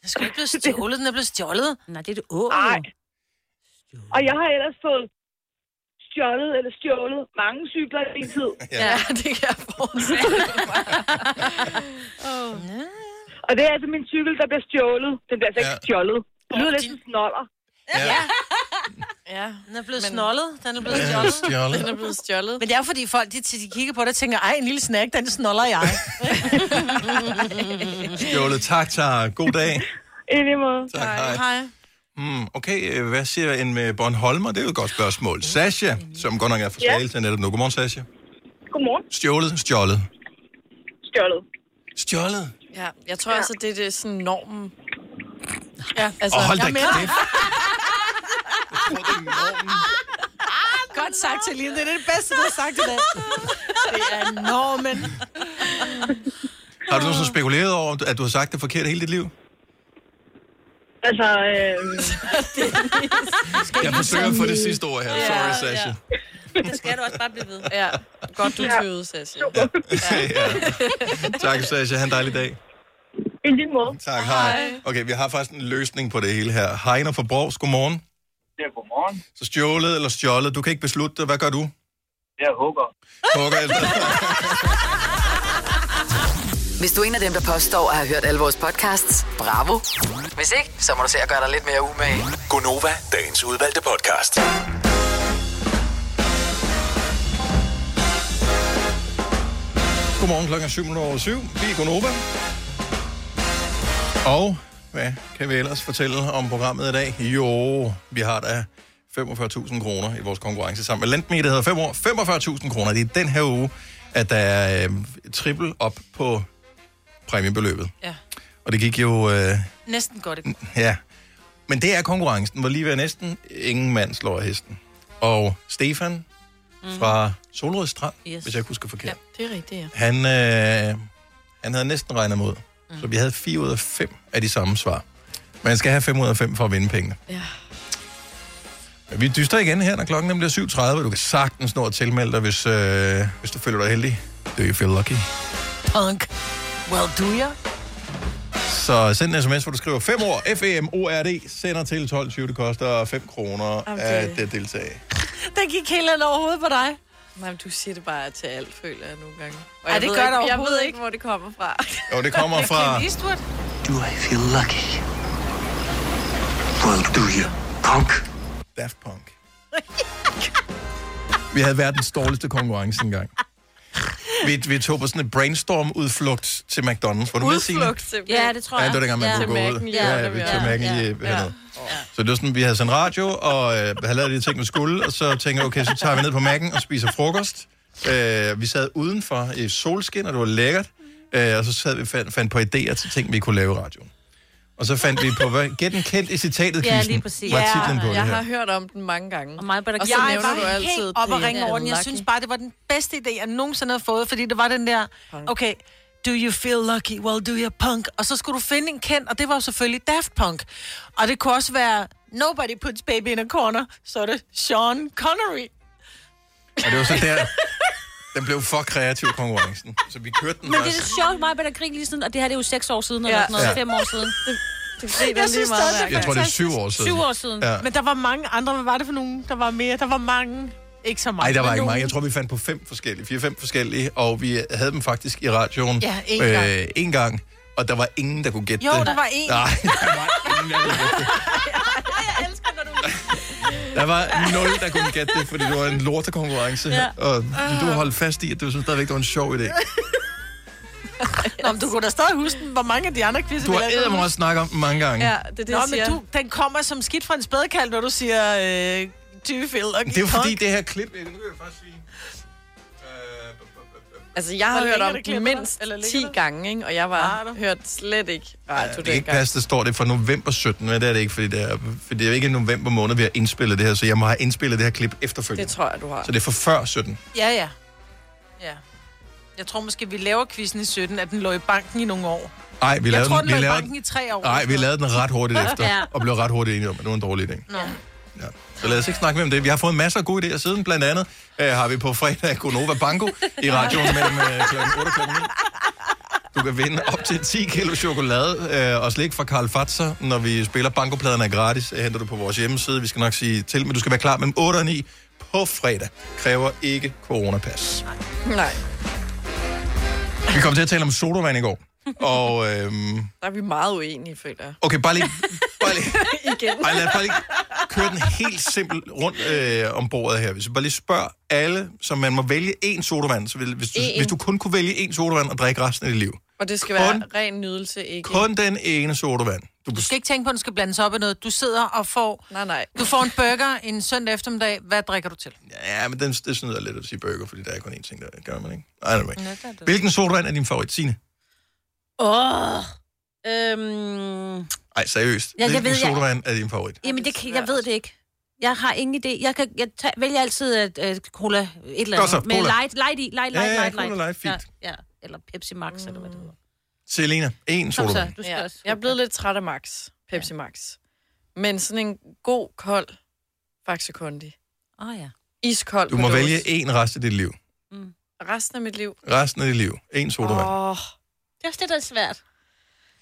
Den skal ikke blive stjålet, den er blevet stjålet.
Nej, det er det året.
Nej. Og jeg har ellers fået stjålet eller stjålet mange cykler i min tid.
Ja, det kan jeg forestille
Og det er altså min cykel, der bliver stjålet. Den bliver altså ikke stjålet. Det lyder lidt som snoller.
Ja,
den er blevet men... snollet. Den er blevet
Den er
stjålet.
stjålet. Den
er blevet stjålet.
Men det er jo, fordi folk, de, de kigger på det og tænker, ej, en lille snack, den snoller jeg.
Stjålet. Tak, Tara. God dag.
I lige måde.
Tak, hej. Hmm, okay, øh, hvad siger en med Bornholmer? Det er jo et godt spørgsmål. Sasha, som godt nok er fra
Ja.
Slagelse netop nu. Godmorgen, Sasha.
Godmorgen.
Stjålet, stjålet.
Stjålet.
Stjålet?
Ja, jeg tror altså, det er det, sådan normen. Ja,
altså, Åh, hold da
jeg er med dig.
kæft.
Godt sagt, Celine. Det er det bedste, du har sagt i dag. Det er normen.
Har du nogensinde spekuleret over, at du har sagt det forkert hele dit liv?
Altså, øh...
Jeg forsøger at få det sidste ord her. Sorry, Sasha.
Det skal du også bare blive ved.
Ja, godt du
Ja.
tøvede, Sasha.
Tak, Sasha. Ha' en dejlig dag.
I lige måde.
Tak, hej. Okay, vi har faktisk en løsning på det hele her. Heiner fra Borgs, godmorgen.
Ja, godmorgen.
Så stjålet eller stjålet, du kan ikke beslutte det. Hvad gør du?
Jeg hugger.
Hugger eller...
Hvis du er en af dem, der påstår at have hørt alle vores podcasts, bravo. Hvis ikke, så må du se at gøre dig lidt mere umage.
Gonova, dagens udvalgte podcast.
Godmorgen klokken 7 over 7. Vi er Gunova. Og hvad kan vi ellers fortælle om programmet i dag? Jo, vi har da 45.000 kroner i vores konkurrence sammen med Lendme, der hedder 5 år. 45.000 kroner, det er den her uge, at der er øh, trippel op på præmiebeløbet.
Ja.
Og det gik jo... Øh,
Næsten godt. ikke?
Ja. Men det er konkurrencen, hvor lige ved næsten ingen mand slår af hesten. Og Stefan fra Solrød Strand, yes.
Yes.
hvis jeg ikke husker forkert.
Ja, det er rigtigt, ja.
Han, øh, han havde næsten regnet mod. Mm. Så vi havde 4 ud af 5 af de samme svar. Man skal have 5 ud af 5 for at vinde pengene.
Ja.
Men vi dyster igen her, når klokken nemlig er 7.30. Du kan sagtens nå at tilmelde dig, hvis, øh, hvis du føler dig heldig. Do you feel lucky?
Punk. Well, do you?
Så send en sms, hvor du skriver 5 år, F-E-M-O-R-D, sender til 12.20. Det koster 5 kroner
Jamen, det-
at øh, deltage.
Den gik helt hen over hovedet på dig.
Nej, men du siger det bare til alt, føler jeg nogle gange. Og
Ej,
jeg
det
ved
gør
ikke,
det
Jeg ved
overhovedet
ikke, hvor det kommer fra.
Jo, det kommer fra...
Eastwood.
Do I feel lucky? will do you, punk. Daft Punk. Vi havde verdens dårligste konkurrence engang. Vi, vi tog på sådan et brainstorm-udflugt til McDonald's. Var du med, Signe?
Ja, det tror jeg.
Ja, det var dengang, man kunne gå ud. Ja, ja, vi tog mærken i øh, hernede. Så det var sådan, vi havde sådan radio, og øh, havde lavet de ting, man skulle, og så tænkte jeg, okay, så tager vi ned på mærken og spiser frokost. Øh, vi sad udenfor i solskin, og det var lækkert. Øh, og så sad vi fandt, fandt på idéer til ting, vi kunne lave i radioen. Og så fandt vi på, hvad, gæt en kendt i citatet
Ja, lige præcis.
var titlen på det
jeg
her.
har hørt om den mange gange. Og,
meget
og så
jeg
nævner
var
du altid
helt op og
det. øh,
ringe over den. Jeg
Lucky.
synes bare, det var den bedste idé, jeg nogensinde havde fået, fordi det var den der, okay, do you feel lucky? Well, do you punk? Og så skulle du finde en kendt, og det var jo selvfølgelig Daft Punk. Og det kunne også være, nobody puts baby in a corner, så er det Sean Connery.
Og det var så der, den blev for kreativ, konkurrencen. Så vi kørte den
Men det er
også.
det sjovt, mig og Krig lige sådan, og det her det er jo seks år siden, eller sådan noget,
Ja.
fem år siden. Det,
det er lige meget
Jeg tror, det er syv år siden.
Syv år siden.
Ja.
Ja. Men der var mange andre. Hvad var det for nogen? Der var mere. Der var mange. Ikke så mange.
Nej, der
men
var ikke
nogen.
mange. Jeg tror, vi fandt på fem forskellige, fire-fem forskellige, og vi havde dem faktisk i radioen øh,
Ja, én gang.
en gang. Og der var ingen, der kunne gætte
Jo,
det.
der var én.
Nej, der var ingen, der kunne gætte det. Der var nul, der kunne gætte det, fordi det var en lortekonkurrence.
Ja.
Ja. Og du holdt fast i, at du synes stadigvæk, det var en sjov idé.
Nå, men du kunne da stadig huske, hvor mange af de andre quizzer...
Du har
vi lavede.
eddermame også snakket om den mange gange.
Ja, det er det, Nå,
jeg
men
siger.
Du, den kommer som skidt fra en spædekald, når du siger... Øh, do you feel lucky
Det er jo fordi,
punk?
det her klip... øh, Nu kan jeg faktisk sige... øh,
Altså, jeg
Hvor
har hørt
ligger
om
det
den
klippet der?
mindst
Eller ligger
10 gange, ikke? og jeg var hørt slet ikke radio
Ja, det kan
dengang.
ikke passe, det står det fra november 17, men det er det ikke, fordi det er, fordi det er ikke i november måned, vi har indspillet det her, så jeg må have indspillet det her klip efterfølgende.
Det tror jeg, du har.
Så det er fra før 17.
Ja, ja. Ja. Jeg tror måske, vi laver quizzen i 17, at den lå i banken i nogle år.
Nej, vi
Jeg
lavede
tror,
den,
den
vi
lå i
lavede
banken i tre år.
Nej, vi lavede den ret hurtigt efter,
Ja.
og blev ret hurtigt enige om, at det var en dårlig idé.
Nå.
Så lad os ikke snakke mere om det. Vi har fået masser af gode idéer siden. Blandt andet øh, har vi på fredag Gonova Banko i radioen mellem øh, kl. 8 og kl. 9. Du kan vinde op til 10 kilo chokolade øh, og slik fra Karl Fatser, når vi spiller. Bankopladerne er gratis. Det henter du på vores hjemmeside. Vi skal nok sige til, men du skal være klar mellem 8 og 9 på fredag. Kræver ikke coronapas.
Nej,
Vi kom til at tale om sodavand i går. Og øhm,
der er vi meget uenige, føler jeg.
okay, bare lige
Igen.
Ej, lad os bare lige køre den helt simpelt rundt øh, om bordet her. Hvis vi bare lige spørger alle, så man må vælge én sodavand. Så vil, hvis, du,
Én.
hvis du kun kunne vælge én sodavand og drikke resten af dit liv.
Og det skal
Kun-
være ren nydelse, ikke?
Kun den ene sodavand. Du,
Du skal ikke tænke på, at den skal blandes op i noget. Du sidder og får...
Nej, nej.
Du får en burger en søndag eftermiddag. Hvad drikker du til?
ja, men den, det snyder lidt at sige burger, fordi der er kun én ting, der gør man ikke. I don't know. Hvilken sodavand er din favorit, Signe?
Åh. Øhm,
Ej, seriøst.
Ja, jeg
Hvilken
ved, jeg-
sodavand er din favorit?
jamen, det, kan- jeg ved det ikke. Jeg har ingen idé. Jeg, kan, jeg tager, vælger altid at, uh, cola et eller
Godt
andet.
så,
Med
cola.
light, light i. Light, light,
Ja, ja,
light, light.
cola light, fint.
Ja, ja. Eller Pepsi Max, eller hvad det hedder.
Selena, én
Kom så,
sodavand.
du skal
Ja.
også.
Jeg er blevet lidt træt af Max, Pepsi Max. Men sådan en god, kold Faxe Kondi.
Åh oh, ja.
Iskold
Du
med
må
lås.
vælge én resten af dit liv.
Resten af mit liv.
Resten af dit liv. Én sodavand.
Åh,
Det er også det, der er svært.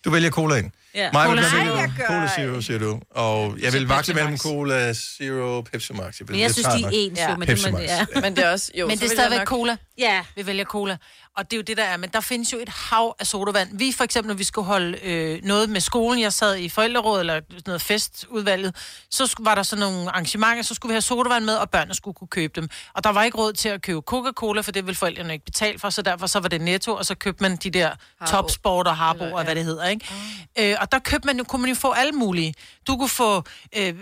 Du vælger colaen.
Ja.
Mig,
Cola. Nej,
cola. Hvad vælger
jeg
du?
gør
Cola
ikke.
Zero, siger du. Og jeg vil
Så
vakle
Pepsi
mellem
Max.
Cola Zero Pepsi Max. Jeg,
Men jeg synes, de er ens, jo, men det
Pepsi
må-
Max.
ja.
Men det er også... Jo,
men
så
det er
vil jeg
stadigvæk
nok-
cola.
Ja.
Vi vælger cola. Og det er jo det, der er. Men der findes jo et hav af sodavand. Vi for eksempel, når vi skulle holde øh, noget med skolen, jeg sad i forældrerådet eller sådan noget festudvalget, så sku- var der sådan nogle arrangementer, så skulle vi have sodavand med, og børnene skulle kunne købe dem. Og der var ikke råd til at købe Coca-Cola, for det ville forældrene ikke betale for, så derfor så var det netto, og så købte man de der topsport og harbo og hvad det hedder, ikke? Øh, og der købte man jo, kunne man jo få alle mulige. Du kunne få... Øh,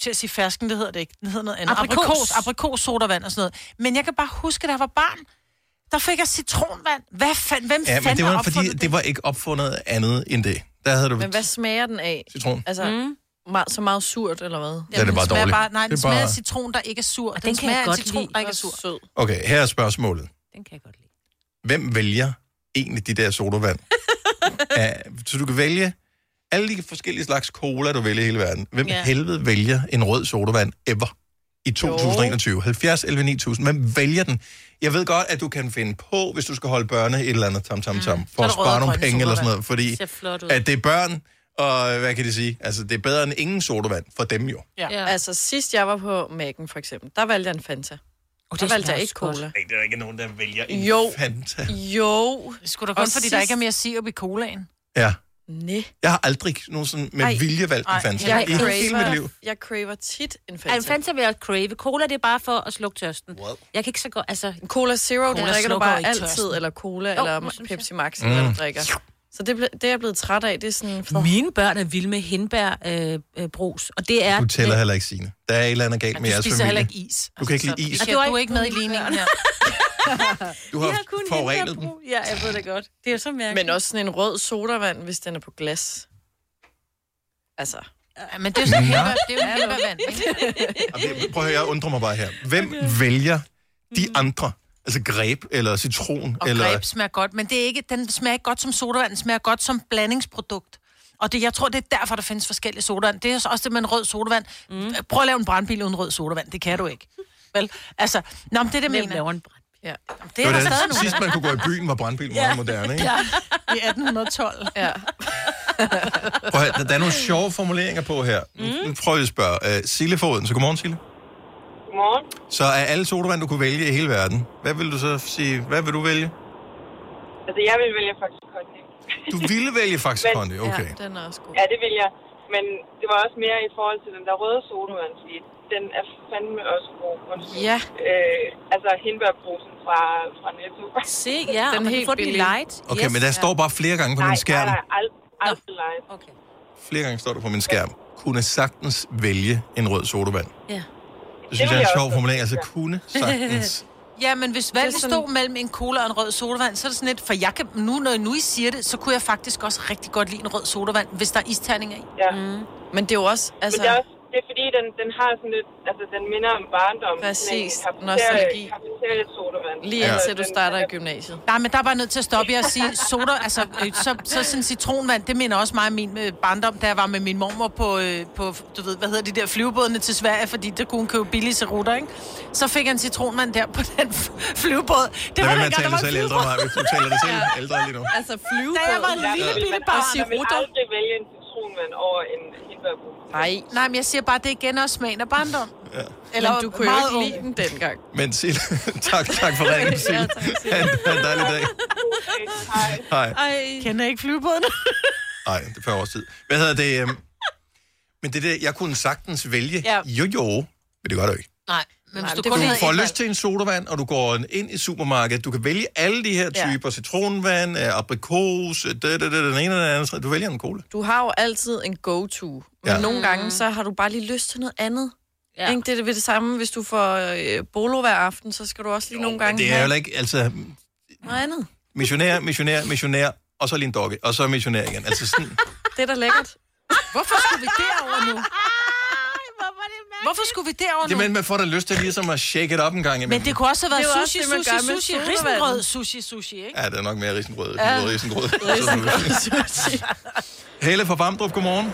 til at sige fersken, det hedder det ikke. Den hedder noget andet.
Aprikos.
Aprikos, aprikos, sodavand og sådan noget. Men jeg kan bare huske, da jeg var barn, der fik jeg citronvand. Hvad fan, hvem
Ja,
fanden
men det var
har opfundet
fordi, det var ikke opfundet andet end det. Der havde du...
Men hvad smager den af?
Citron.
Altså, mm. meget, så meget surt, eller hvad?
Ja, det er
den
bare
smager
dårligt.
Bare, nej,
Det
den
er
smager
bare-
af citron, der ikke er sur. Den,
den
den
kan jeg
smager af
godt
citron,
lide.
der ikke er sur.
Sød.
Okay, her er spørgsmålet.
Den kan jeg godt lide.
Hvem vælger egentlig de der sodavand? ja, så du kan vælge alle de forskellige slags cola, du vælger i hele verden. Hvem
Ja.
ja. helvede vælger en rød sodavand ever i 2021? 70, 11, 9000. Hvem vælger den? Jeg ved godt, at du kan finde på, hvis du skal holde børne et eller andet tam tam tam, mm. for
er
at
der rød
spare
og
nogle
grøn
penge eller sådan
sodavand.
noget, fordi
Ser flot ud.
at det er børn, og hvad kan de sige? Altså, det er bedre end ingen sodavand for dem jo.
Ja. ja. Altså, sidst jeg var på Mac'en, for eksempel, der valgte jeg en Fanta. Oh,
det
der valgte
smager
jeg ikke
også godt.
cola.
Nej, det er ikke nogen, der vælger en
Oh.
Jo.
Fanta.
Jo.
Det skulle da kun, fordi der ikke er mere sirup i colaen.
Ja.
Nej.
Jeg har aldrig nogen sådan med Ej. vilje valgt en Fanta.
Jeg,
I hele mit liv.
craver- jeg craver tit en Fanta.
Ej, en Fanta vil jeg crave. Cola, det er bare for at slukke tørsten.
Wow.
Jeg kan ikke så godt, altså...
Cola Zero, det drikker du bare altid, eller cola,
Jo,
eller
det synes jeg.
Pepsi Max,
Mm.
mm. eller hvad du drikker. Så det, ble- det er jeg blevet træt af, det er sådan...
Mine børn er vilde med hindbær øh, øh, brus, og det er...
Du tæller heller ikke, Signe. Der er et eller andet galt med jeres familie.
is.
Du kan ikke lide is.
Og
Ja,
du er
du er
ikke med i ligningen her.
Du har,
kun
forurenet dem.
Ja, jeg ved det godt. Det er så mærkeligt.
Men også sådan en rød sodavand, hvis den er på glas. Altså...
Ja, men
det er jo sådan Nå. hindbær-
det er jo hindbærvand,
Prøv at høre, jeg undrer mig bare her. Hvem okay. vælger de andre? Altså greb, eller citron,
Mm. Og
eller...
Eller... greb smager godt, men det er ikke, den smager ikke godt som sodavand, den smager godt som blandingsprodukt. Og det, jeg tror, det er derfor, der findes forskellige sodavand. Det er også det med en rød sodavand. Mm. Prøv at lave en brandbil uden rød sodavand. Det kan du ikke. Vel? Altså, nå, men det er det,
Hvem
mener.
laver en
brandbil? Ja. Jamen,
Det
er
var
der
da
stadig nogen,
sidst,
der-
man kunne gå i byen, var brandbil meget
Ja.
ja. moderne, ikke?
Ja. I 1812.
Ja.
Prøv at, høre, der, der er nogle
Mm.
sjove formuleringer på her. Mm. Nu prøver jeg at spørge. Uh, Sille Foden, så godmorgen, Sille.
Godmorgen.
Så af alle sodavand, du kunne vælge i hele verden, hvad vil du så sige, hvad vil du vælge?
Altså, jeg vil vælge faktisk Kondi.
Du ville vælge faktisk
Men-
Kondi, okay.
Ja, den er også god.
Ja, det vil jeg. Men det var også mere i forhold til den der røde sodavand, fordi den er fandme også god. Undskyld.
Ja.
Øh, altså hindbærbrusen fra, fra Netto.
Se, ja, Den og man kan helt få den billige. light.
Okay, yes, men der ja. står bare flere gange på min skærm.
Nej, nej, ald- aldrig light.
Okay.
Flere gange står der på min skærm. Kunne sagtens vælge en rød sodavand.
Ja.
Det
vil
synes jeg er
jeg
en sjov
også
formulering. Altså, kunne sagtens.
Ja, men hvis valget sådan... stod mellem en cola og en rød sodavand, så er det sådan lidt, for jeg kan, nu når nu I siger det, så kunne jeg faktisk også rigtig godt lide en rød sodavand, hvis der er isterninger i.
Ja.
Mm.
Men det er jo også,
Altså... Men det er, også, det er fordi, den, den har sådan lidt, altså den minder om barndom.
Præcis.
Sådan en
Nostalgi.
cafeterie- cafeterie-sodavand.
Lige
Altså,
indtil du
den-
starter i gymnasiet.
Nej, men der er bare nødt til at stoppe jer og sige, soda, altså, øh, så, så sådan citronvand, det minder også mig om min øh, barndom, da jeg var med min mormor på, øh, på, du ved, hvad hedder de der flyvebådene til Sverige, fordi der kunne hun købe billige cerutter, ikke? Så fik jeg en citronvand der på den f- flyvebåd.
Lad være med
dengang,
at tale dig
en
selv ældre,
flyvebåd.
Maja. Du taler dig selv ældre lige nu.
Altså flyvebåd.
Da jeg var en lille, lille barn.
Jeg vil aldrig vælge en citronvand over en hindbærbrus.
Nej.
Nej, men jeg siger bare, det er igen også smagen af barndom.
Ja.
Eller
Men du kunne jo
meget
ikke
ung.
lide den dengang.
Men Sille, tak, tak for ringen, Sille.
Ja, tak, Sille.
Ha' en- ha' en dejlig dag. Hej.
Ej. Kender ikke flyvebåden?
Nej, det er før års tid. Hvad hedder det? øhm, Men det der, jeg kunne sagtens vælge.
Ja.
Jo, jo. Men det gør du ikke.
Nej, men hvis
Du,
du kun havde
får
et
lyst til en sodavand, og du går ind i supermarkedet. Du kan vælge alle de her
Ja.
typer. Ja. Citronvand, øh, aprikos, øh, det, det, det, den ene og den anden. Du vælger en cola.
Mm-hmm.
Du har jo altid en go-to. Men
Ja.
ja. nogle gange, så har du bare lige lyst til noget andet. Mm. Ja. Ikke? Det er ved det samme, hvis du får øh, bolo hver aften, så skal du også lige jo, nogle gange
Det er
have
jo ikke, altså,
noget andet.
missionær, missionær, missionær, og så lige en dokke, og så missionær igen. Altså sådan,
Det er da lækkert.
Hvorfor skulle vi derover nu? Hvorfor skulle vi derover nu?
jamen, man får da lyst til ligesom at shake it up en gang imellem.
Men det kunne også have været
Det er jo også
sushi,
det, man
sushi,
gør med
sushi,
sodavand.
risengrød, sushi, sushi, ikke?
Ja, det er nok mere risengrød.
Ja.
Ja. Risengrød.
Risengrød,
altså,
sushi.
Helle fra Vamdrup, godmorgen.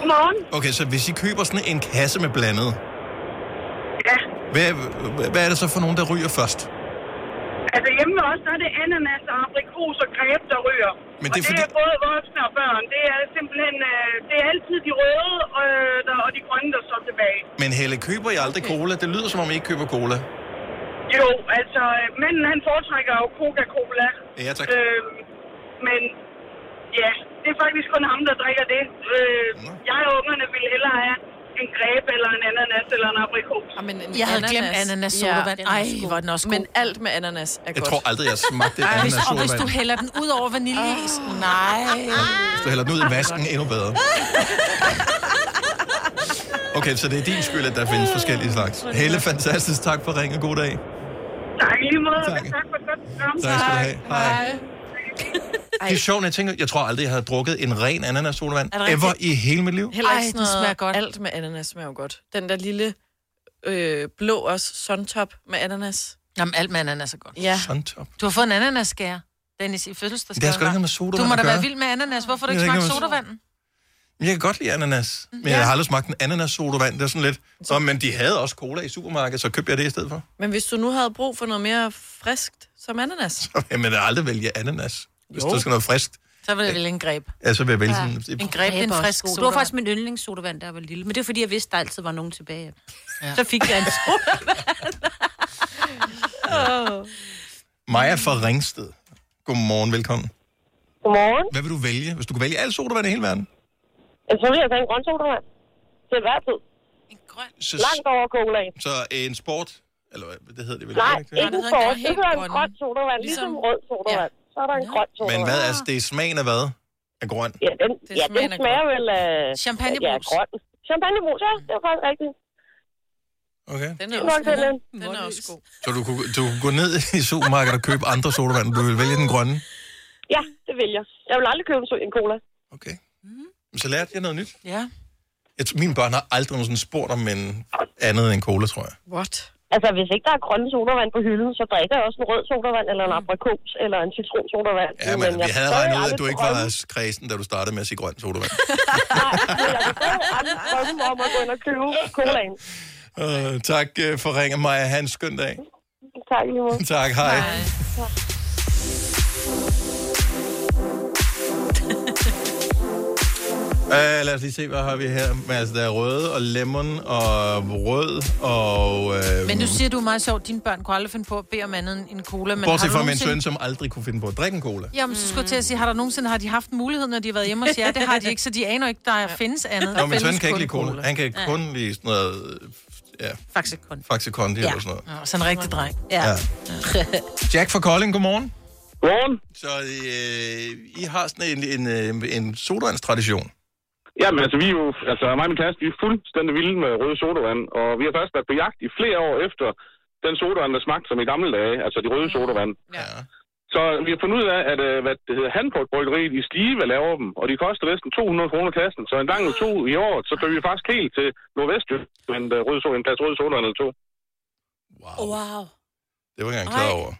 Godmorgen.
Okay, så hvis I køber sådan en kasse med blandet,
Ja,
hvad, hvad er det så for nogen, der ryger først?
altså hjemme hos os, der er det ananas og aprikos og greb, der ryger.
Men
det er, og det fordi... er både voksne og børn. Det er simpelthen, øh, det er altid de røde øh, der, og de grønne, der står tilbage.
Men Helle, køber I aldrig cola? Det lyder, som om I ikke køber cola.
Jo, altså øh, manden han foretrækker jo Coca-Cola.
Ja, tak.
Øh, men ja, det er faktisk kun ham, der drikker det. Øh, jeg og ungerne ville hellere have en greb eller en ananas eller en aprikos.
Jamen, Ah, en
Jeg havde glemt ananas sodavand. Ej, hvor er den også god.
Men alt med ananas er
Jeg
godt.
tror aldrig, jeg smagte et
Ej,
andet
hvis, og hvis du
sodavand.
hælder den ud over vaniljeis,
Ah.
nej.
Hvis du hælder den ud i vasken, endnu bedre. Okay, så det er din skyld, at der findes forskellige slags. Helle, fantastisk. Tak for ringen. God dag.
Tak i lige måde,
Tak.
og tak for et godt program.
Tak skal du have. Hej. Det er sjovt, når jeg tænker, jeg tror aldrig, jeg havde drukket en ren ananas sodavand
Er det rigtigt?
ever i hele mit liv.
Heller
Ej,
ikke sådan
den
noget,
smager
smager godt. alt med ananas smager jo godt. Den der lille øh, blå også, suntop med ananas.
Jamen, alt med ananas er godt.
Ja.
Suntop.
Du har fået en ananaskære, Dennis, i fødselsdagsgave.
Det har sgu da ikke noget med sodavand
Du må
at
da
gøre.
være vild med ananas. Hvorfor har du
Det
ikke
har
smagt
ikke
sodavanden?
Men Jeg kan godt lide ananas, men jeg har aldrig smagt en ananas sodavand. Det er sådan lidt, så, men de havde også cola i supermarkedet, så købte jeg det i stedet for.
Men hvis du nu havde brug for noget mere friskt som ananas,
Jamen, jeg vil aldrig vælge ananas, hvis
Jo.
der skal noget friskt.
så vil jeg vælge en greb.
Ja, så vil jeg vælge
Ja.
sådan...
En greb, en
er også
frisk
god. Det var
sodavand.
faktisk min yndlingssodavand, der var lille. Men det er fordi, jeg vidste, der altid var nogen tilbage.
Ja.
Så fik jeg en sodavand.
Maja fra Ringsted. Godmorgen, velkommen.
Godmorgen.
Hvad vil du vælge, hvis du kunne vælge alle sodavand i hele verden?
Jeg tror, jeg tager en grøn sodavand. Til hver tid.
Så,
Langt over colaen.
så øh, en sport, eller hvad det hedder det vel?
Nej,
ikke det?
ikke en sort. Det hedder en grøn sodavand, ligesom, rød sodavand. Så er der en grøn sodavand.
Men hvad er det er smagen af hvad? Af grøn?
Ja, den,
Det
ja, den
smagen af
smager vel af...
Champagnebrus.
Ja, grøn. Champagnebrus, ja. Det er faktisk rigtigt.
Okay.
Den
er
også god.
Den er også god.
Så du kunne, du kunne gå ned i supermarkedet og købe andre sodavand, men du vil vælge den grønne?
Ja, det vil jeg. Jeg vil aldrig købe en, so- en cola.
Men Så lærte jeg noget nyt.
Ja.
Jeg tror, mine børn har aldrig nogensinde spurgt om en andet end cola, tror jeg.
What? Altså, hvis ikke der er grønne sodavand på hylden, så drikker jeg også en rød sodavand, eller en aprikos, eller en citronsodavand.
Mm. Ja, men
jeg
vi havde
forstår
regnet
jo
ud, at
aldrig
du ikke
drømmen.
var kredsen, da du startede med at sige grøn sodavand.
Men jeg forstår jo aldrig drømmen om at gå ind og købe colaen.
Uh, tak øh, for ringen, Maja. Ha' en skøn dag.
Tak, Ivo.
Tak, hej. hej. Uh, lad os lige se, hvad har vi her. Men, altså, der er røde og lemon og rød og... Uh,
Men du siger, du er meget sjov. Dine børn kunne aldrig finde på at bede om andet end en cola. Men
Bortset
har du
fra min
nogensinde-
søn, som aldrig kunne finde på at drikke en cola.
Jamen, så skulle jeg til at sige, har der nogensinde har de haft mulighed, når de har været hjemme hos jer? Det har de ikke, så de aner ikke, der findes andet.
Nå,
Der
min søn
findes
kan ikke lide
kun
cola. Han kan kun lide sådan noget... øh, Ja,
Faktisk kun.
Faxe Kondi
Ja.
eller sådan noget.
Nå, så en rigtig dreng.
Ja.
Ja.
Jack fra Kolding, godmorgen.
Godmorgen.
Så øh, I har sådan en, en, øh, en sodavandstradition.
Jamen, altså, vi er jo, altså, mig og min kæreste, vi er fuldstændig vilde med røde sodavand, og vi har faktisk været på jagt i flere år efter den sodavand, der smagte som i gamle dage, altså de røde sodavand.
Ja.
Så vi har fundet ud af, at øh, hvad det hedder, Hanford-bryggeriet i Skive laver dem, og de koster næsten 200 kroner kassen. Så en gang
Ah.
eller to i år, så kører vi faktisk helt til Nordvestjylland, øh, røde so- en plads røde sodavand eller to.
Wow.
Det var jeg ikke klar over.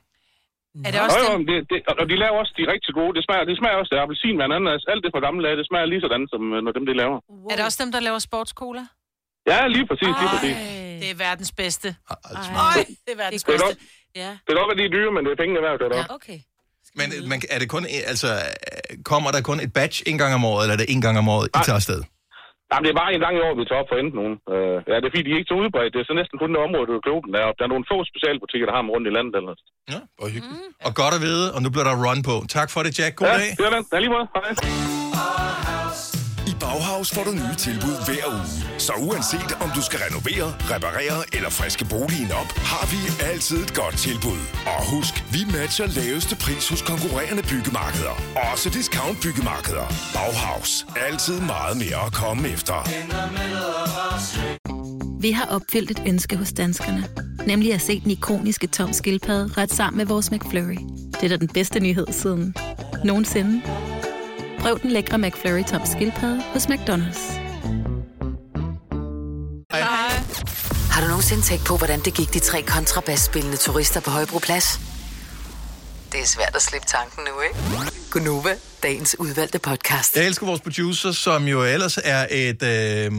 Er det
også jo, jo, men det, det, og de laver også de rigtig gode. Det smager, det smager også af appelsin, med ananas. Alt det fra gamle dage, det smager lige sådan, som øh, når dem det laver.
Wow. Er det også dem, der laver sportscola?
Ja, lige præcis,
Ah.
lige præcis.
Øh,
Det er verdens bedste.
Ah, Ej,
det er verdens
Det er
bedste.
godt.
Ja.
Det kan godt være, de er dyre, men det er pengene værd, det er ja.
Okay.
Men øh, man, er det kun, øh, altså, øh, kommer der kun et batch en gang om året, eller er det en gang om året, I tager afsted?
Jamen, det er bare en gang i år, vi tager op for enten nogen. Øh, ja, det er fordi, de er ikke så udbredt. Det er så næsten kun det område, du kan købe dem deroppe. Der er nogle få specialbutikker, der har dem rundt i landet. Eller noget.
Hvor hyggeligt. Mm. Og godt at vide, og nu bliver der run på. Tak for det, Jack. God
Ja,
dag.
det er det. Ja, lige måde. Hej.
I Bauhaus får du nye tilbud hver uge. Så uanset om du skal renovere, reparere eller friske boligen op, har vi altid et godt tilbud. Og husk, vi matcher laveste pris hos konkurrerende byggemarkeder. Også discount byggemarkeder. Bauhaus. Altid meget mere at komme efter.
Vi har opfyldt et ønske hos danskerne. Nemlig at se den ikoniske tom skildpadde ret sammen med vores McFlurry. Det er da den bedste nyhed siden nogensinde. Prøv den lækre McFlurry tom skildpadde hos McDonald's.
Har du nogensinde tænkt på, hvordan det gik de tre kontrabasspillende turister på Højbroplads? Det er svært at slippe tanken nu, ikke? Gunova, dagens udvalgte podcast.
Jeg elsker vores producer, som jo ellers er et, øh,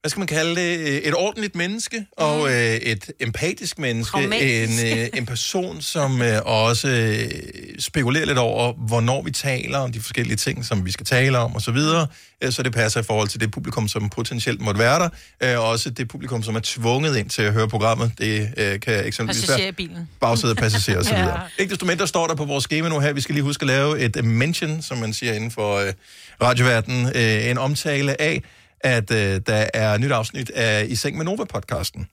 hvad skal man kalde det, Øh, et ordentligt menneske, og øh, et empatisk menneske, en,
Pragmatisk.
øh, en person, som øh, også øh, spekulerer lidt over, hvornår vi taler om de forskellige ting, som vi skal tale om osv., så, øh, så det passer i forhold til det publikum, som potentielt måtte være der, øh, og også det publikum, som er tvunget ind til at høre programmet. Det øh, kan eksempelvis
Passager i
være
bilen.
bagsæde passagerer osv.
Ja.
ja. Ikke desto mindre står der på vores schema nu her, vi skal lige huske at lave et øh, mention, som man siger inden for øh, radioverdenen, øh, en omtale af, at øh, der er nyt afsnit af I Seng med Nova-podcasten.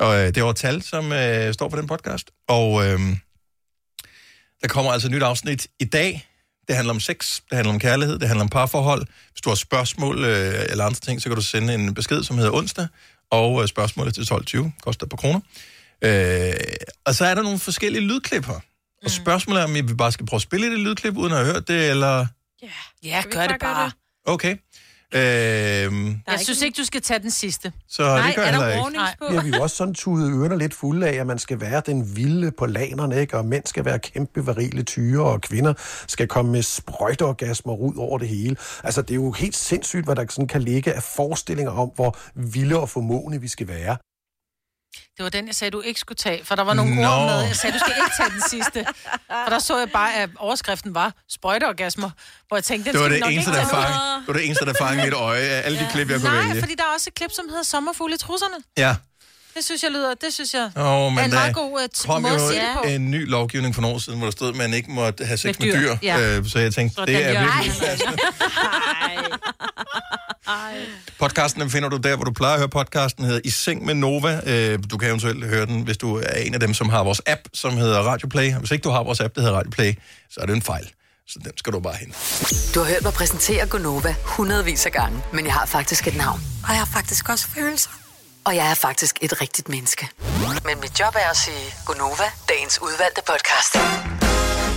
Og øh, det er over tal, som øh, står for den podcast. Og øh, der kommer altså et nyt afsnit i dag. Det handler om sex, det handler om kærlighed, det handler om parforhold. Hvis du har spørgsmål øh, eller andre ting, så kan du sende en besked, som hedder onsdag. Og øh, spørgsmålet er til 12.20, koster på kroner. Øh, og så er der nogle forskellige lydklip her.
Mm.
Og spørgsmålet er, om vi bare skal prøve at spille det lydklip, uden at have hørt det, eller...
Ja, gør det bare.
Okay. Øhm, Øh,
Jeg synes ikke, du skal tage den sidste.
Så det
Nej,
gør
er
jeg heller
der
ikke.
warnings på?
bliver vi jo også sådan tudet ørerne lidt fulde af, at man skal være den vilde på lanerne, ikke? og mænd skal være kæmpe virile tyre, og kvinder skal komme med sprøjteorgasmer ud over det hele. Altså, det er jo helt sindssygt, hvad der sådan kan ligge af forestillinger om, hvor vilde og formående vi skal være.
Det var den, jeg sagde, du ikke skulle tage, for der var nogle
Nå.
ord med. Jeg sagde, du skal ikke tage den sidste. For der så jeg bare, at overskriften var sprøjteorgasmer, hvor jeg tænkte, den
Det var
skal vi
det,
nok
eneste,
ikke
der
tage
fang,
med.
det var det eneste, der fangede mit øje af alle de klip, jeg kunne
Nej,
vælge.
fordi der er også et klip, som hedder Sommerfugle i trusserne.
Ja.
Det synes jeg lyder, det synes jeg
Åh, men
er en
der
meget god uh,
kom
måde at
jo
sige det på.
en ny lovgivning for nogle år siden, hvor der stod, at man ikke måtte have sex med
Med
dyr.
dyr,
Med dyr.
ja.
Øh, så jeg tænkte,
Sådan,
det er
ja.
virkelig...
Ej.
Podcasten den finder du der, hvor du plejer at høre podcasten, hedder I Seng med Nova. Øh, Du kan eventuelt høre den, hvis du er en af dem, som har vores app, som hedder Radio Play. Og Hvis ikke du har vores app, der hedder Radio Play, så er det en fejl. Så den skal du bare hente.
Du har hørt mig præsentere Gonova hundredvis af gange, men jeg har faktisk et navn.
Og jeg har faktisk også følelser.
Og jeg er faktisk et rigtigt menneske. Men mit job er at sige Gonova, dagens udvalgte podcast.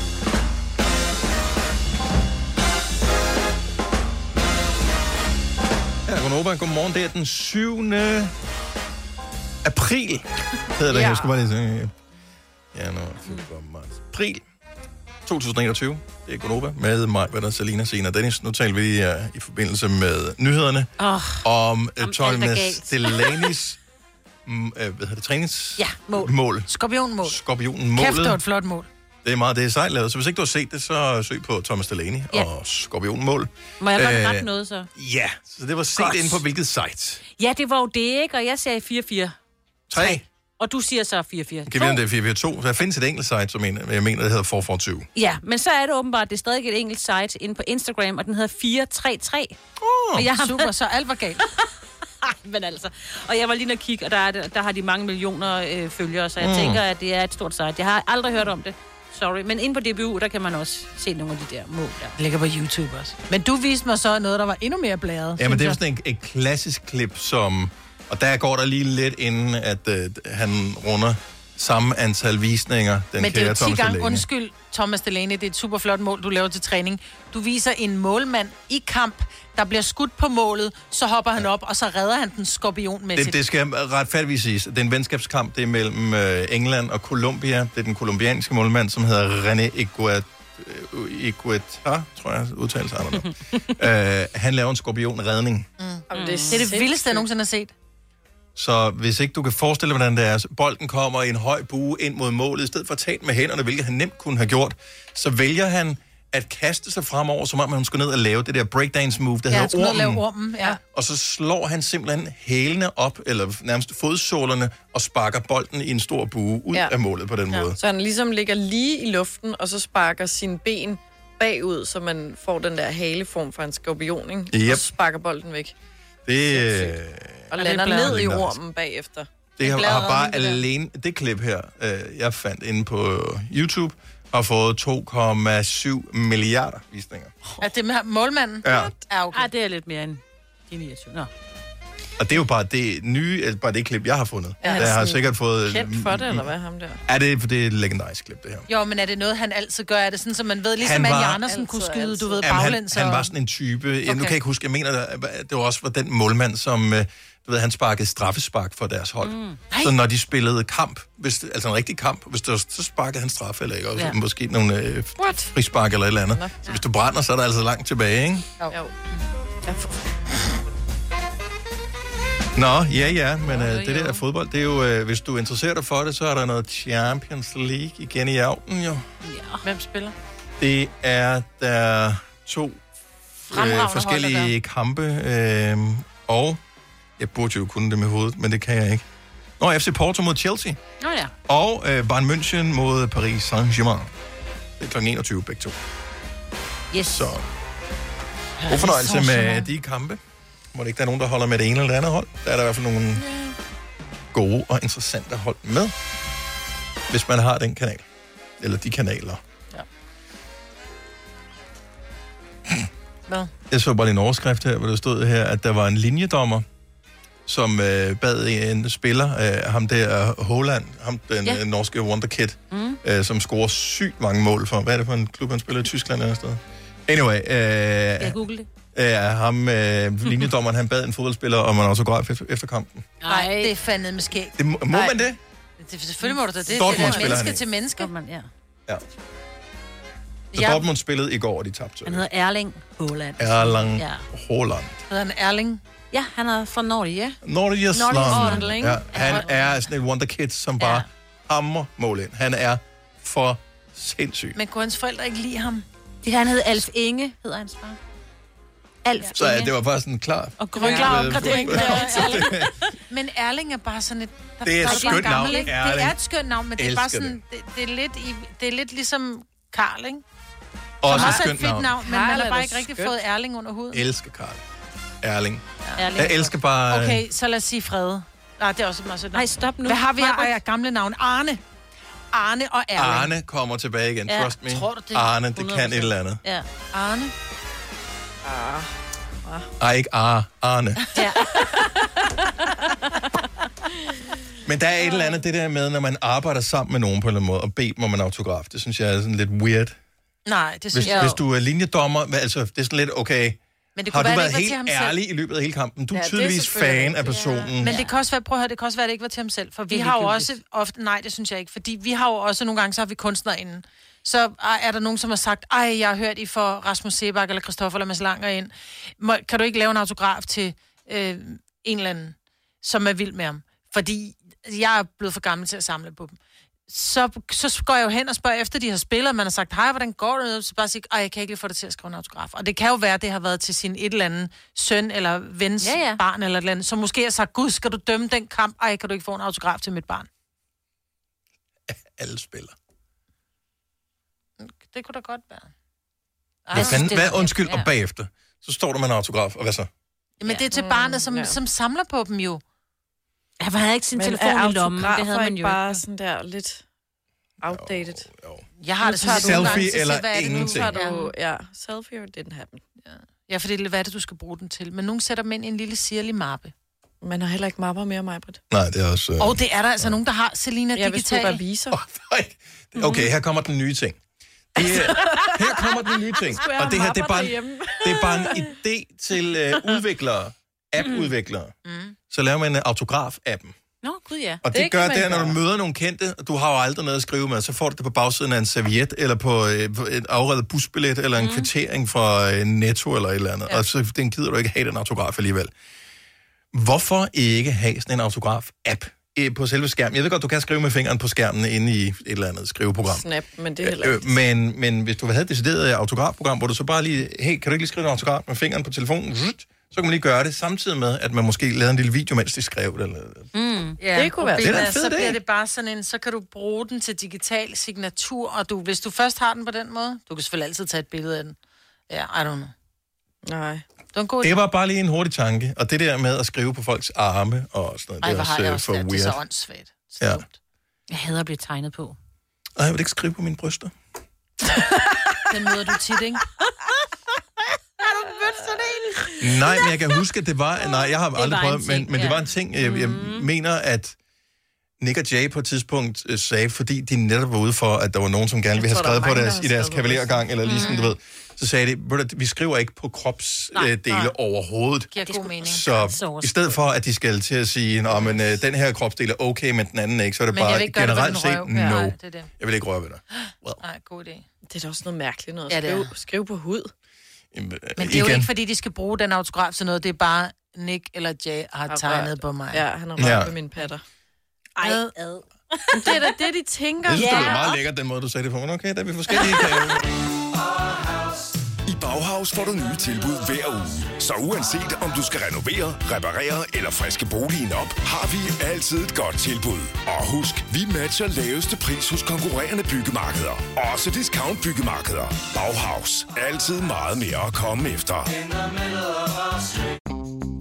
Ja, Gunova, godmorgen. Det er den 7. april, hedder det. Ja.
Ja.
Jeg skal bare lige sige. øh, Ja, nu marts. April 2021. Det er Gunova med mig, hvad der Selina, Sina og Dennis. Nu taler vi lige, uh, i forbindelse med nyhederne
Åh,
om uh,
alt
Tolna
er galt.
Delanis mm, uh, hvad hedder det, trænings...
Ja, mål.
Mål.
Skorpionmål.
Skorpionmålet.
Kæft, det var et flot mål.
Det er meget det er sejt lavet. Så hvis ikke du har set det, så søg på Thomas Delaney
Ja.
og Skorpionmål.
Må jeg
Øh,
godt rette noget så?
Ja, så det var set
Godt.
inde på hvilket site?
Ja, det var jo det, ikke? Og jeg sagde 4-4.
3.
Og du siger så 4-4.
Kan vi vide, om det er 442? Der findes et enkelt site, som en, jeg mener, det hedder 442.
Ja, men så er det åbenbart, at det er stadig et enkelt site inde på Instagram, og den hedder 433.
Oh,
og jeg har
super, så alt var galt.
Ej, men altså. Og jeg var lige inde og kigge, og der, er, det- der har de mange millioner øh, følgere, så jeg
Mm.
mm. tænker, at det er et stort site. Jeg har aldrig hørt om det. Sorry. Men inde på DBU, der kan man også se nogle af de der mål der.
Det ligger på YouTube også. Men du viste mig så noget, der var endnu mere blæret.
Ja, men det er jo sådan et, et klassisk klip, som... Og der går der lige lidt inden, at øh, han runder samme antal visninger, den
men det er
kære
jo 10
Thomas
gange,
Delaney.
undskyld Thomas Delaney, det er et super flot mål, du laver til træning. Du viser en målmand i kamp, der bliver skudt på målet, så hopper han op, og så redder han den skorpionmæssigt.
Det, det skal retfærdigvis siges. Det er en venskabskamp. Det er mellem øh, England og Colombia. Det er den kolumbianske målmand, som hedder René Iguat, øh, Igueta, tror jeg udtales han. øh, han laver en skorpionredning.
Mm.
Jamen,
Det, er det, er det vildeste, jeg nogensinde har set.
Så hvis ikke du kan forestille dig, hvordan det er, så bolden kommer i en høj bue ind mod målet, i stedet for at tage den med hænderne, hvilket han nemt kunne have gjort, så vælger han at kaste sig fremover, som om han skulle ned og lave det der breakdance move, der
Ja, han
hedder
skulle ned
ormen.
og lave ormen, ja.
Og så slår han simpelthen hælene op, eller nærmest fodsålerne, og sparker bolden i en stor bue ud ja. af målet på den måde.
Så han ligesom ligger lige i luften, og så sparker sine ben bagud, så man får den der haleform fra en skorpion, ikke?
Yep.
Og så sparker bolden væk.
Det, øh,
Og
Ja,
lander
det er
ned i
bladret.
ormen bagefter.
det har,
bladret
har bare
rundt i det der.
alene... Det klip her, øh, jeg fandt inde på YouTube, har fået 2,7 milliarder visninger.
At det med ham- målmanden?
Ja.
ja okay.
Ej, Ah, det er lidt mere end de 29. Nå.
Og det er jo bare det nye, eller bare det klip, jeg har fundet.
Er
Ja,
han
jeg har
sådan
sikkert fået...
kendt for det, eller
Hvad er ham der?
Er det, det er et legendarisk klip, det her.
Jo, men er det noget, han altid gør? Er det sådan, som man ved, ligesom
Han
Andy
var-
Andersen kunne skyde, du ved,
Jamen, han,
baglæns?
han
og-
var sådan en type... Okay. Jamen, nu kan
Okay.
jeg ikke huske, jeg mener, at det var også var den målmand, som... øh, Du ved, han sparkede straffespark for deres hold. Mm. Så når de spillede kamp, hvis, det- altså en rigtig kamp, hvis det var, så sparkede han straffe, eller ikke? Og
Ja.
ja. måske nogle øh,
What?
frispark eller et eller andet.
Nå.
Så hvis du brænder, så er der altså langt tilbage, ikke?
Jo. Mm-hmm. jo. Ja, for-
Nå, ja, ja, men øh, det der er fodbold, det er jo, øh, hvis du interesserer dig for det, så er der noget Champions League igen i aften, jo.
Hvem spiller?
Det er der to øh,
Fremragende hold,
forskellige
der.
kampe, øh, og jeg burde jo kunne det med hovedet, men det kan jeg ikke. Nå, FC Porto mod Chelsea,
Nå ja.
og øh, Bayern München mod Paris Saint-Germain. Det er kl. 21 begge to.
Yes.
Så god fornøjelse med de kampe. Må det ikke der er nogen, der holder med det ene eller det andet hold? Der er der i hvert fald nogle gode og interessante hold med, hvis man har den kanal. Eller de kanaler.
Hvad?
Jeg så bare lige en overskrift her, hvor der stod her, at der var en linjedommer, som øh, bad en spiller, øh, ham der Holland, ham den
Ja.
ja. norske wonderkid,
Mm.
øh, som scorer sygt mange mål for. Hvad er det for en klub, han spiller i Tyskland eller sådan noget? Anyway, øh,
Jeg googlede det.
øh, ham, øh, linjedommeren, han bad en fodboldspiller om en autograf efter, efter kampen.
Nej, det er fandme med skægt.
Det, må må
Ej.
man det?
Det, selvfølgelig må du da det. Det
Dortmund
er
spiller han
menneske til
i.
menneske.
Dortmund, ja.
Ja. Så
Ja.
Dortmund spillede i går, og de tabte.
Han hedder Erling Haaland.
Erlang
Ja.
Haaland.
Hedder han Erling?
Ja, han er fra Norge, ja.
Nordic Slang.
Nordic
Ja, han er sådan et wonderkid, som bare hammer mål ind. Han er for sindssyg.
Men kunne hans forældre ikke lide ham?
Det her, han hed Alf Inge, hedder hans far. Alf
Så ja, det var bare sådan en klar...
Og
Grøn klar opgradering.
Ja.
Men Erling er bare sådan et... der-
Altså, Det er et
der
skønt
gammel,
navn,
ikke? Det er
Erling.
et skønt navn, men det er bare
Elsker
sådan... Det, det, er lidt i, det er lidt ligesom Karl, ikke?
Også
Som
et
er
skønt navn.
men man
Karl
har
er
bare
da
ikke rigtig
skønt.
fået Erling under huden.
Elsker Karl. Erling.
Erling.
Jeg elsker bare... øh,
Okay, så lad os sige Frede. Nej, det er også et meget sødt navn.
Nej, stop nu.
Hvad har vi af
Majbrit.
af gamle navn? Arne. Arne og Erling.
Arne kommer tilbage igen,
Ja,
trust me.
tror du det?
Arne, det kan
100%.
et eller andet.
Ja. Arne.
Ah.
Ej, ikke Ar, Arne.
Ja.
Men der er et eller andet det der med, når man arbejder sammen med nogen på en eller anden måde, og beder dem om en autograf. Det synes jeg er sådan lidt weird.
Nej, det
Hvis,
synes jeg
hvis
jo.
du er linjedommer, hvad- altså det er sådan lidt, okay,
Men det
har
kunne være,
du
det
været
ikke var til
helt
ham selv?
ærlig i løbet af hele kampen? Du er
Ja, det er
tydeligvis
selvfølgelig
fan af personen.
Men det kan også være, prøv at høre, det kan også være, det ikke var til ham selv, for vi
Mm. Det er
har jo
ligegyldigt.
også ofte, nej, det synes jeg ikke, fordi vi har jo også, nogle gange så har vi kunstnere inden. Så ej, er der nogen, som har sagt, ej, jeg har hørt, I får Rasmus Sebak eller Christoffer eller Mads Langer ind. Må, kan du ikke lave en autograf til øh, en eller anden, som er vild med ham? Fordi jeg er blevet for gammel til at samle på dem. Så, så går jeg jo hen og spørger efter, de har spillet, og man har sagt, hej, hvordan går det? Så bare sige, ej, jeg kan ikke lige få dig til at skrive en autograf. Og det kan jo være, det har været til sin et eller andet søn, eller vens
Ja,
ja,
ja.
ja. barn, eller et eller andet, som måske har sagt, gud, skal du dømme den kamp? Ej, kan du ikke få en autograf til mit barn?
Alle spiller.
Det kunne da godt være.
Hvad, fanden, hvad undskyld,
ja.
og bagefter, så står der med en autograf, og hvad så?
Men det er til barnet, som,
ja.
ja. som samler på dem jo.
Han havde ikke sin
Men
telefon
er
i lommen. Det havde
autografer
man
ikke
jo
bare sådan der lidt outdated?
Jo, jo.
Jeg har det sådan lidt nogle gange, så siger, hvad er det nu?
Tager du,
Ja.
ja, selfie or didn't happen. Ja.
Ja, for det er hvad er det, du skal bruge den til. Men nogen sætter dem ind i en lille sirlig mappe.
Man har heller ikke mapper mere, Majbrit.
Nej, det er også... øh,
Og det er der altså nogen, der har Selina
Ja,
ja,
hvis du
Digital.
er revisor.
Okay, her kommer den nye ting. Det er, her kommer den nye ting.
Skulle jeg
Og det her,
have
det er bare en,
mapper
det er bare en idé til øh, udviklere, app-udviklere. Så laver man en autograf-appen.
Nå, gud ja.
Og det, det gør det, at når du møder nogle kendte, og du har jo aldrig noget at skrive med, så får du det på bagsiden af en serviet, eller på øh, på et afredet busbillet, eller en mm. kvittering fra øh, Netto, eller et eller andet. Ja. Og så den gider du ikke have den autograf alligevel. Hvorfor ikke have sådan en autograf-app øh, på selve skærmen? Jeg ved godt, du kan skrive med fingeren på skærmen inde i et eller andet skriveprogram.
Snap, men det er heller
Øh,
ikke.
men, men hvis du havde et decideret øh, autografprogram, hvor du så bare lige, hey, kan du ikke lige skrive en autograf med fingeren på telefonen? Zzt. Så kan man lige gøre det, samtidig med, at man måske lavede en lille video, mens de skrev det. Eller...
Mm.
Det kunne være- Det er da en fed
så bliver
idé.
det bare sådan en, så kan du bruge den til digital signatur, og du, hvis du først har den på den måde, du kan selvfølgelig altid tage et billede af den. Ja, I don't know.
Nej.
Det var en god idé.
Det var bare lige en hurtig tanke, og det der med at skrive på folks arme og sådan noget,
Ej,
det
hvor
er
har
også
jeg
øh,
også
for
det.
weird.
Det er så åndssvagt.
ja.
Jeg hader at blive tegnet på.
Ej, jeg vil ikke skrive på mine bryster.
Den møder du tit, ikke?
Har du mødt sådan en?
Nej, men jeg kan huske, at det var... Nej, jeg har
var
aldrig
en
prøvet, men,
ting,
men det
ja.
var en ting, jeg, jeg
Mm-hmm.
mener, at Nick og Jay på et tidspunkt øh, sagde, fordi de netop var ude for, at der var nogen, som gerne ville have
tror, der er
skrevet på
mange, der
deres,
har
i deres
skrevet på
kavalergang, eller lige sådan,
Mm.
Mm-hmm.
du ved. Så sagde de, "Ved du hvad, vi skriver ikke på kropsdele øh, overhovedet.
Giver god mening.
Så i stedet for, at de skal til at sige, Nå, men øh, den her kropsdel er okay, men den anden er ikke, så er det
Men jeg
bare
vil ikke gøre det ved
generelt
din
set,
røv. Ja,
no.
nej, det er det.
Jeg vil ikke røre ved dig.
Nej, god idé.
Det er da også noget mærkeligt noget
Ja,
at
det
skrive, skrive på hud.
Men det er jo ikke, fordi de skal bruge den autograf til noget. Det er bare, Nick eller Jay har tegnet på mig.
Ja, han har rørt
Ja.
på mine patter.
Ej,
ad.
Men det er da det, de tænker.
Jeg synes, det var meget lækkert, den måde, du sagde det på. Men okay, der er vi forskellige.
I Bauhaus får du nye tilbud hver uge. Så uanset om du skal renovere, reparere eller friske boligen op, har vi altid et godt tilbud. Og husk, vi matcher laveste pris hos konkurrerende byggemarkeder. Også discount byggemarkeder. Bauhaus. Altid meget mere at komme efter.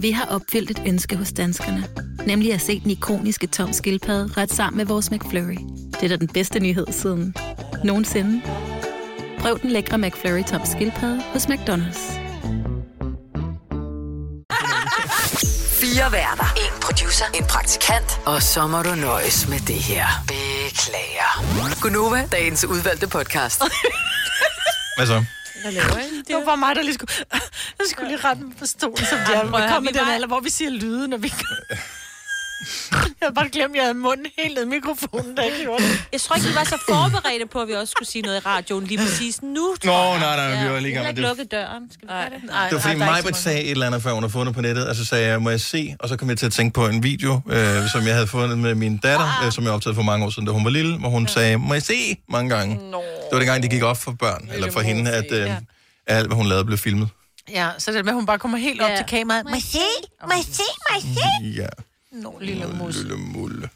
Vi har opfyldt et ønske hos danskerne. Nemlig at se den ikoniske tom skildpadde ret sammen med vores McFlurry. Det er da den bedste nyhed siden nogensinde. Prøv den lækre McFlurry tom skildpadde hos McDonald's.
Fire værter. En producer. En praktikant. Og så må du nøjes med det her. Beklager. Gunova, dagens udvalgte podcast.
Hvad så?
Hvad laver I?
Det var bare mig, der lige skulle, jeg skulle lige rette mig på stolen, som de
prøv at
er
høre,
kommet i
vi
den
var-
alder, hvor vi siger lyde, når vi... jeg havde bare glemt, at jeg havde munden helt ned i mikrofonen, da jeg gjorde det.
Jeg tror ikke, vi var så forberedte på, at vi også skulle sige noget i radioen lige præcis nu. tror
Nå,
jeg.
nej, nej, vi
Ja,
var lige i gang
heller
med
ikke lukket
det.
døren. Skal vi gøre det?
Det var fordi Majbert sagde et eller andet, før hun havde fundet på nettet, og så sagde jeg, må jeg se? Og så kom jeg til at tænke på en video, øh, som jeg havde fundet med min datter, øh, som jeg optagede for mange år siden, da hun var lille, hvor hun sagde, må jeg se? Mange gange. Det var dengang, det gik op for børn, eller for hende, at øh, alt, hvad hun lavede, blev filmet.
Ja, så det er med, at hun bare kommer helt op til kameraet. Må jeg se? Må jeg se? Må jeg se?
Ja.
Nå, lille mus.
Lille mulle.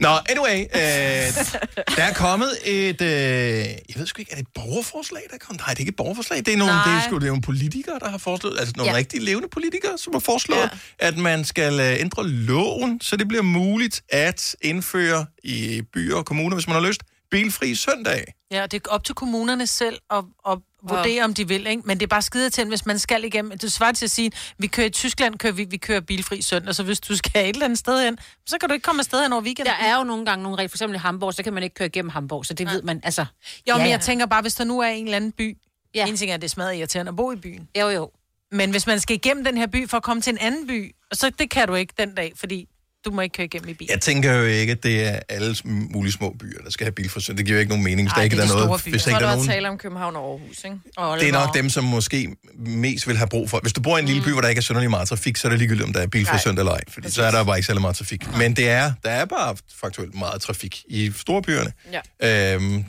Nå, anyway, øh, der er kommet et, øh, jeg ved sgu ikke, er det et borgerforslag, der er kommet? Nej, det er ikke et borgerforslag, det er nogle, det er,
Nej.
sgu, det er nogle politikere, der har foreslået, altså nogle ja.
Ja.
rigtig levende politikere, som har foreslået, ja. at man skal øh, ændre loven, så det bliver muligt at indføre i byer og kommuner, hvis man har lyst, bilfri søndag.
Ja, og det er op til kommunerne selv at, at vurdere, om de vil, ikke? Men det er bare skide til, hvis man skal igennem. Det svarer til at sige, vi kører i Tyskland, kører vi, vi kører bilfri søndag, så hvis du skal et eller andet sted hen, så kan du ikke komme afsted hen over weekenden.
Der er jo nogle gange nogle regler, for eksempel i Hamburg, så kan man ikke køre igennem Hamburg, så det ved man, altså...
Jo, men jeg tænker bare, hvis der nu er en eller anden by, ja. en ting er, at det er smadret irriterende at bo i byen.
Jo, jo.
Men hvis man skal igennem den her by for at komme til en anden by, så det kan du ikke den dag, fordi du må ikke køre igennem i bil.
Jeg tænker jo ikke, at det er alle sm- mulige små byer, der skal have bilfri søndag. Det giver jo ikke nogen mening, hvis der ikke er noget. Hvis der
Jeg
ikke
tror,
er
der er
nogen...
tale om København og Aarhus, ikke?
Oh,
Det er nok dem, som måske mest vil have brug for. Hvis du bor i en lille by, hvor der ikke er synderlig meget trafik, så er det ligegyldigt, om der er bilfri
Nej.
søndag eller ej. Fordi så er der bare ikke særlig meget trafik. Men det er, der er bare faktuelt meget trafik i storbyerne.
Ja.
Øhm,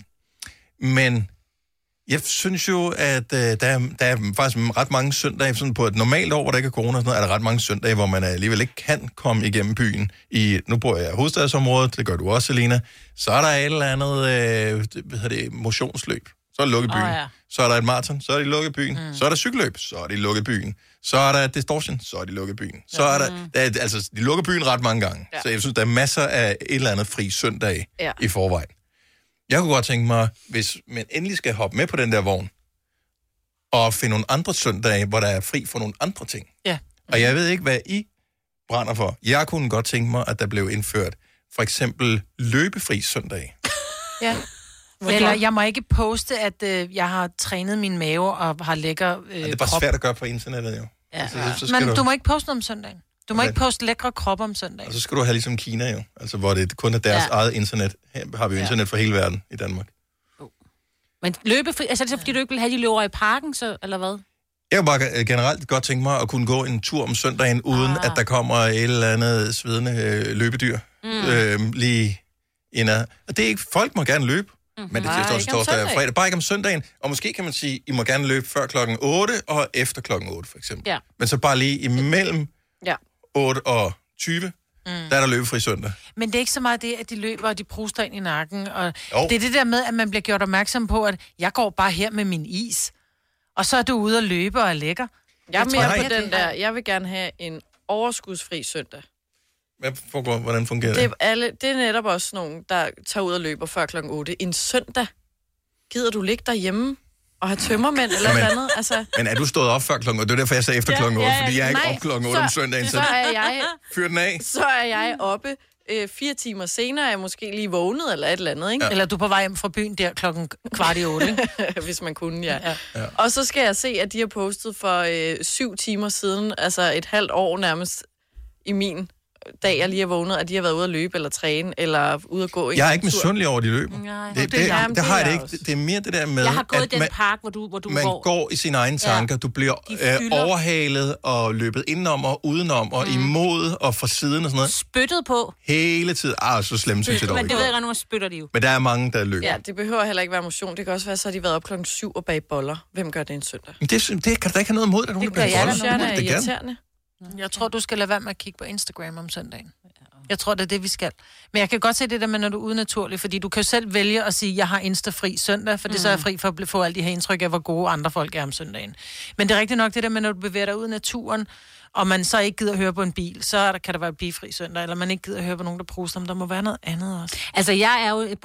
men jeg synes jo, at øh, der, er, der er faktisk ret mange søndage, sådan på et normalt år, hvor der ikke er corona og sådan noget, er der ret mange søndage, hvor man alligevel ikke kan komme igennem byen. I, nu bor jeg i hovedstadsområdet, det gør du også, Selina. Så er der et eller andet øh, det- hvad hedder det, motionsløb. Så er det lukket byen.
Åh,
Oh,
ja.
ja. Så er der et maraton, så er det lukket byen. Mm. Så er der cykelløb, så er det lukket byen. Så er der distortion, så er det lukket byen. Så er der, der er, altså, de lukker byen ret mange gange. Ja.
Ja.
Så jeg synes, der er masser af et eller andet fri søndag
Ja.
ja. i forvejen. Jeg kunne godt tænke mig, hvis man endelig skal hoppe med på den der vogn, og finde nogle andre søndage, hvor der er fri for nogle andre ting.
Ja.
Og jeg ved ikke, hvad I brænder for. Jeg kunne godt tænke mig, at der blev indført for eksempel løbefri søndag.
Ja. Eller jeg må ikke poste, at øh, jeg har trænet min mave og har lækker øh,
Altså, Det er bare
krop.
svært at gøre på internettet, jo.
Ja.
Altså, så- så skal
Men
du-
du... må ikke poste noget om søndagen. Du må
Okay.
ikke poste lækre krop om søndagen.
Og så skal du have ligesom Kina jo, altså hvor det kun er deres ja.
Ja.
eget internet. Her har vi jo internet for hele verden i Danmark.
Men løbefri, altså er det så, fordi du ikke vil have, de løber i parken, så, eller hvad?
Jeg kunne bare øh, generelt godt tænke mig at kunne gå en tur om søndagen, uden ah. at der kommer et eller andet svedende øh, løbedyr mm.
Mm.
øh, lige indad. Og det er ikke, folk må gerne løbe. Mm.
Mhm.
Men det er
Bare
tirsdag,
ikke om
torsdag og
søndagen.
fredag. Bare ikke om søndagen. Og måske kan man sige, I må gerne løbe før klokken 8 og efter klokken 8, for eksempel.
Ja.
Men så bare lige imellem
Ja.
8 og 20, mm. der er der løbefri søndag.
Men det er ikke så meget det, at de løber, og de pruster ind i nakken. Og
Jo.
det er det der med, at man bliver gjort opmærksom på, at jeg går bare her med min is. Og så er du ude og løbe og er lækker. tror
Jeg er
ikke,
mere
at
på
det-
den der, jeg vil gerne have en overskudsfri søndag.
Hvad foregår, hvordan fungerer
Det
det?
er, alle, det er netop også nogen, der tager ud og løber før kl. 8. En søndag. Gider du ligge derhjemme og have tømmermænd eller
Jamen,
noget andet? Altså,
Men er du stået op før klokken 8? Det er derfor, jeg sagde efter klokken 8, fordi jeg er ikke
nej,
op klokken 8 om
så-
søndagen.
Så er jeg,
Fyr den af.
så er jeg oppe øh, fire timer senere, er jeg måske lige vågnet eller et eller andet, ikke?
Ja. Eller du er på vej hjem fra byen der klokken kvart i otte, ikke?
Hvis man kunne, ja. ja. Og så skal jeg se, at de har postet for øh, syv timer siden, altså et halvt år nærmest i min dag, jeg lige har vågnet, at de har været ude at løbe eller træne, eller ude at gå en
Jeg er ikke
tur.
misundelig over, at de løber.
Nej.
Det,
Nå,
det,
det
det,
er jeg.
det, det har jeg
Det
det
er
ikke. Det, det er mere det der med,
jeg har gået i
at
den
man,
park, hvor du, hvor du
man
går.
går i sine egne tanker. Du bliver øh,
fylder. Mm.
overhalet og løbet indenom og udenom og imod og fra siden og sådan noget.
Spyttet på.
Hele tiden. Ah, så slemt synes jeg dog
Men det
ikke.
ved jeg ikke, nogen spytter de jo.
Men der er mange, der løber.
Ja, det behøver heller ikke være motion. Det kan også være, så har de været op klokken syv og bag boller. Hvem gør det en søndag?
Men Det, synes- det kan du da ikke have noget imod, at hun
Det gør jeg, der er
det gerne.
irriterende.
Jeg tror, du skal lade være med at kigge på Instagram om søndagen. Jeg tror, det er det, vi skal. Men jeg kan godt se det der med, når du er udenaturlig, fordi du kan jo selv vælge at sige, jeg har Insta-fri søndag, for det mm. så er jeg fri for at bl- få alle de her indtryk af, hvor gode andre folk er om søndagen. Men det er rigtigt nok det der med, når du bevæger dig ud i naturen, og man så ikke gider høre på en bil, så er der, kan der være bilfri søndag, eller man ikke gider høre på nogen, der pruster, men der må være noget andet også.
Altså, jeg er jo et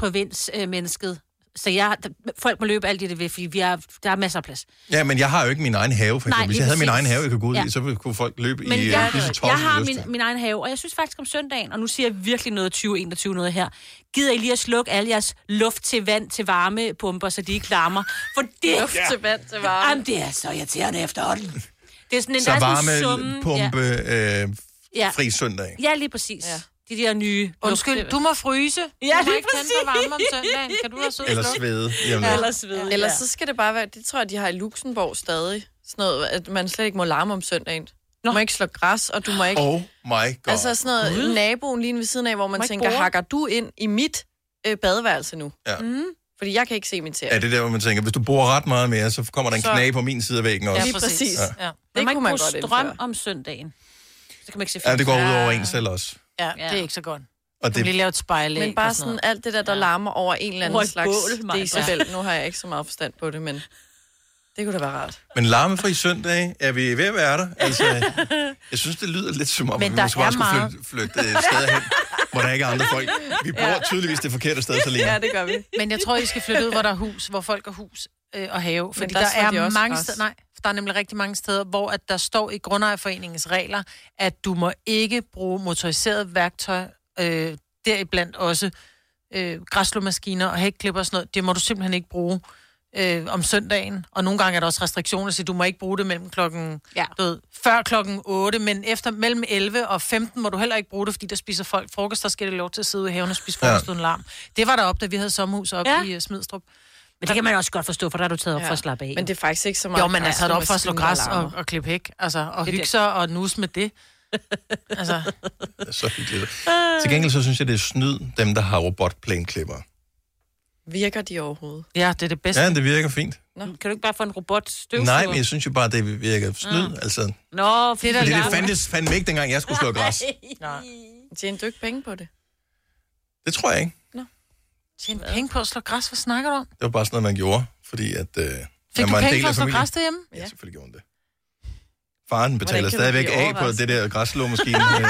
provinsmennesket, så jeg, der, folk må løbe alt det, de vil, fordi vi er, der er masser af plads.
Ja, men jeg har jo ikke min egen have, for
Nej,
eksempel. Hvis
lige
jeg havde min
præcis.
egen have, jeg kunne gå ud i,
Ja.
så kunne folk løbe
Men
i
jeg,
øh, lige så
jeg
tosset
har
lyst
min,
til.
min egen have, og jeg synes faktisk om søndagen, og nu siger jeg virkelig noget 2021 noget her, gider I lige at slukke alle jeres luft til vand til varme pumper, så de ikke larmer? For det,
Luft til vand til varme.
Jamen, det er så irriterende efterhånden. Det er sådan en,
Så
der er sådan en
varme,
summen-
pumpe, øh,
Ja.
fri søndag.
Ja, lige præcis. Ja. De der nye...
Undskyld, du må fryse.
Ja,
du må
lige
ikke tænde for
præcis.
varmen om søndagen. Kan du være sød? og
Eller
slukke?
svede. lige om lidt.
Ja. Eller svede, Ellers
ja.
så skal det bare være, det tror jeg, de har i Luxembourg stadig, sådan noget, at man slet ikke må larme om søndagen. Du må ikke slå græs, og du må ikke...
Oh my god.
altså sådan noget,
Gud.
naboen lige ved siden af, hvor man
Må ikke
tænker,
bore.
hakker du ind i mit øh, badeværelse nu?
Ja.
Mm. Fordi jeg kan ikke se min serie.
Er det der, hvor man tænker, hvis du bruger ret meget mere, så kommer der en
Så-
knage på min side af væggen også.
Ja, præcis. Ja. Ja.
Det
Det man
kunne
må
man
ikke
godt
bruge strøm om søndagen. Så kan man ikke se
Ja,
film.
det går ud over en selv også.
Ja, det er ikke så godt.
Og
Du kan lige lave et spejlæg
Men bare
og sådan
sådan alt det der, der larmer over en eller
Over
anden
et
slags
bål, Maja.
decibel. Nu har jeg ikke så meget forstand på det, men det kunne da være rart.
Men larmefri søndag, er vi ved at være der? Altså, jeg synes, det lyder lidt som om,
Men
at vi
der
måske
er
bare skulle
meget.
flytte, flytte øh, et sted hen, hvor der ikke er andre folk. Vi bor
Ja.
tydeligvis det forkerte sted, Selina.
det gør vi.
Men jeg tror, I skal flytte ud, hvor der er hus, hvor folk har hus øh, og have. Fordi
der
der,
slår de
er
også
mange
græs.
steder, nej, for der er nemlig rigtig mange steder, hvor at der står i Grundejerforeningens regler, at du må ikke bruge motoriseret værktøj, øh, deriblandt også øh, græsslåmaskiner og hækklipper og sådan noget. Det må du simpelthen ikke bruge øh, om søndagen. Og nogle gange er der også restriktioner, så du må ikke bruge det mellem klokken, ja. du ved, før klokken 8, men efter mellem 11 og 15 må du heller ikke bruge det, fordi der spiser folk frokost, der skal det lov til at sidde ude i haven og spise
Ja.
frokost ja. uden larm. Det var der op, da vi havde sommerhus op
Ja.
ja. i øh, Smidstrup.
Men det kan man også godt forstå, for der er du taget op
Ja.
for at slappe af.
Men det
er faktisk ikke så
jo, man er taget op for at slå græs og, og klippe hæk, altså, og
Det er
hygge
det.
sig og nus med det. altså,
Det er så hyggeligt. Til gengæld så synes jeg, det er snyd, dem der har robotplæneklipper.
Virker de overhovedet?
ja, det er det bedste.
Ja, det virker fint.
Nå. Kan du ikke bare få en robot støvsuger?
Nej, men jeg synes jo bare, det virker snyd. Mm. Altså,
Nå,
det, fordi det fandtes fandme ikke, dengang jeg skulle slå græs.
Tjener du ikke penge på det?
Det tror jeg ikke.
Tjene penge på at slå græs, hvad snakker du om?
Det var bare sådan noget, man gjorde, fordi at... Øh,
Fik
man
du
var en
penge
del
for
af
at slå
familien.
græs derhjemme?
Ja, selvfølgelig gjorde hun det. Faren
Hvordan kan
betaler
man
stadigvæk
blive
af på
overrasket?
det der græslåmaskine. øh,